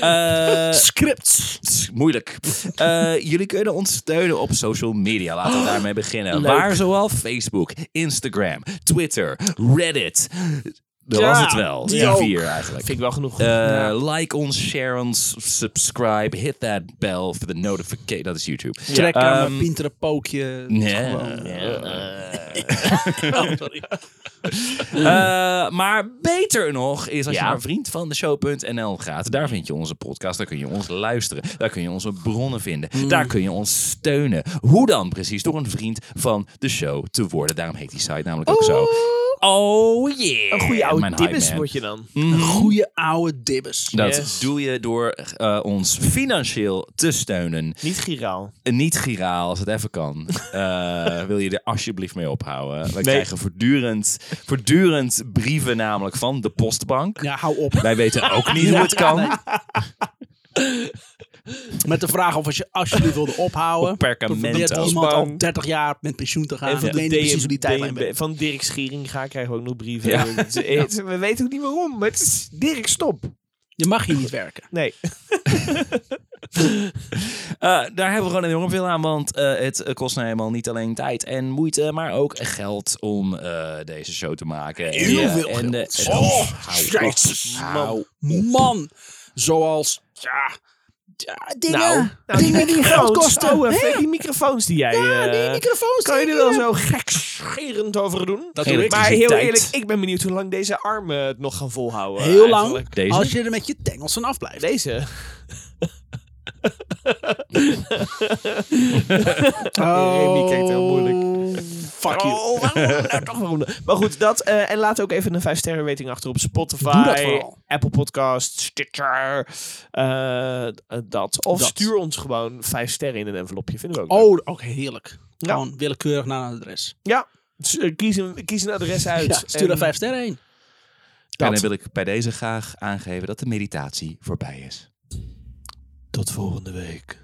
Eh,
Scripts.
Pst, moeilijk. Eh, jullie kunnen ons steunen op social media. Laten we daarmee beginnen.
Oh, leuk.
Waar zoal Facebook, Instagram, Twitter, Reddit. Dat
Ja,
was het wel.
die
Die
ook.
vier eigenlijk.
Vind ik wel genoeg.
Eh, Like ons, share ons, subscribe, hit that bell for the notification. Dat is YouTube.
Trek aan
Ehm,
mijn pintere pookje.
nee.
Gewoon, eh, oh, sorry.
Eh, maar beter nog is als
Ja.
je naar vriendvandeshow.nl gaat. Daar vind je onze podcast, daar kun je ons luisteren. Daar kun je onze bronnen vinden. Daar kun je ons steunen. Hoe dan precies? Door een vriend van de show te worden. Daarom heet die site namelijk ook zo. Oh yeah!
Een
eh,
goede oude
Mijn hype
dibbes
man.
word je dan.
Een goede oude dibbes.
Dat
Yes.
doe je door eh, ons financieel te steunen.
Niet giraal.
En Niet giraal, als het even
<laughs>
kan. Eh, wil je er alsjeblieft mee ophouden. We krijgen voortdurend, voortdurend brieven namelijk van de postbank.
Ja, hou op.
Wij weten ook niet hoe het kan.
Met de vraag of als je alsjeblieft wilde ophouden.
Op perkamento.
Probeert iemand al
Bang.
30 jaar met pensioen te gaan.
En
En
van,
weet niet
de
precies
DM
hoe die tijdlijn werkt.
van Dirk Schiering ga, krijgen we ook nog brieven.
Ja.
<laughs> Het is- het- We weten ook niet waarom, maar het is Dirk, stop.
Je mag hier niet werken.
Nee.
Eh, daar hebben we gewoon enorm veel aan, want eh, het eh, kost nou helemaal niet alleen tijd en moeite, maar ook geld om eh, deze show te maken. En,
Heel
eh,
veel
en, de-
geld.
en-
Oh,
hou op.
jezus,
Hou op.
Man, zoals... Ja, ja, dingen.
Nou,
dingen die geld kosten.
Oh, eh,
Hè?
die microfoons die jij...
ja, die
eh,
microfoons.
kan je
die
er wel
dingen.
zo gekscherend over doen?
Dat
Geen
doe ik.
Maar heel
Elektriciteit.
eerlijk, ik ben benieuwd hoe lang deze armen het nog gaan volhouden.
Heel lang.
eigenlijk.
Deze?
Als je er met je tengels van afblijft.
Deze. <laughs> Remy kijkt heel moeilijk.
Oh. Fuck you.
Oh, waarom? Nou, toch waarom? Maar goed, dat. eh, en laat ook even een 5-sterren rating achter op Spotify,
Doe dat vooral.
Apple Podcast, Stitcher. eh, eh, dat. Of
Dat.
stuur ons gewoon 5 sterren in een envelopje. Vinden we ook. leuk.
Oh, ook heerlijk. Gewoon willekeurig naar een adres.
Ja. Dus, eh, Kies een, kies een adres uit.
Ja, stuur er
en
vijf sterren heen.
En
dat.
dan wil ik bij deze graag aangeven dat de meditatie voorbij is.
Tot volgende week.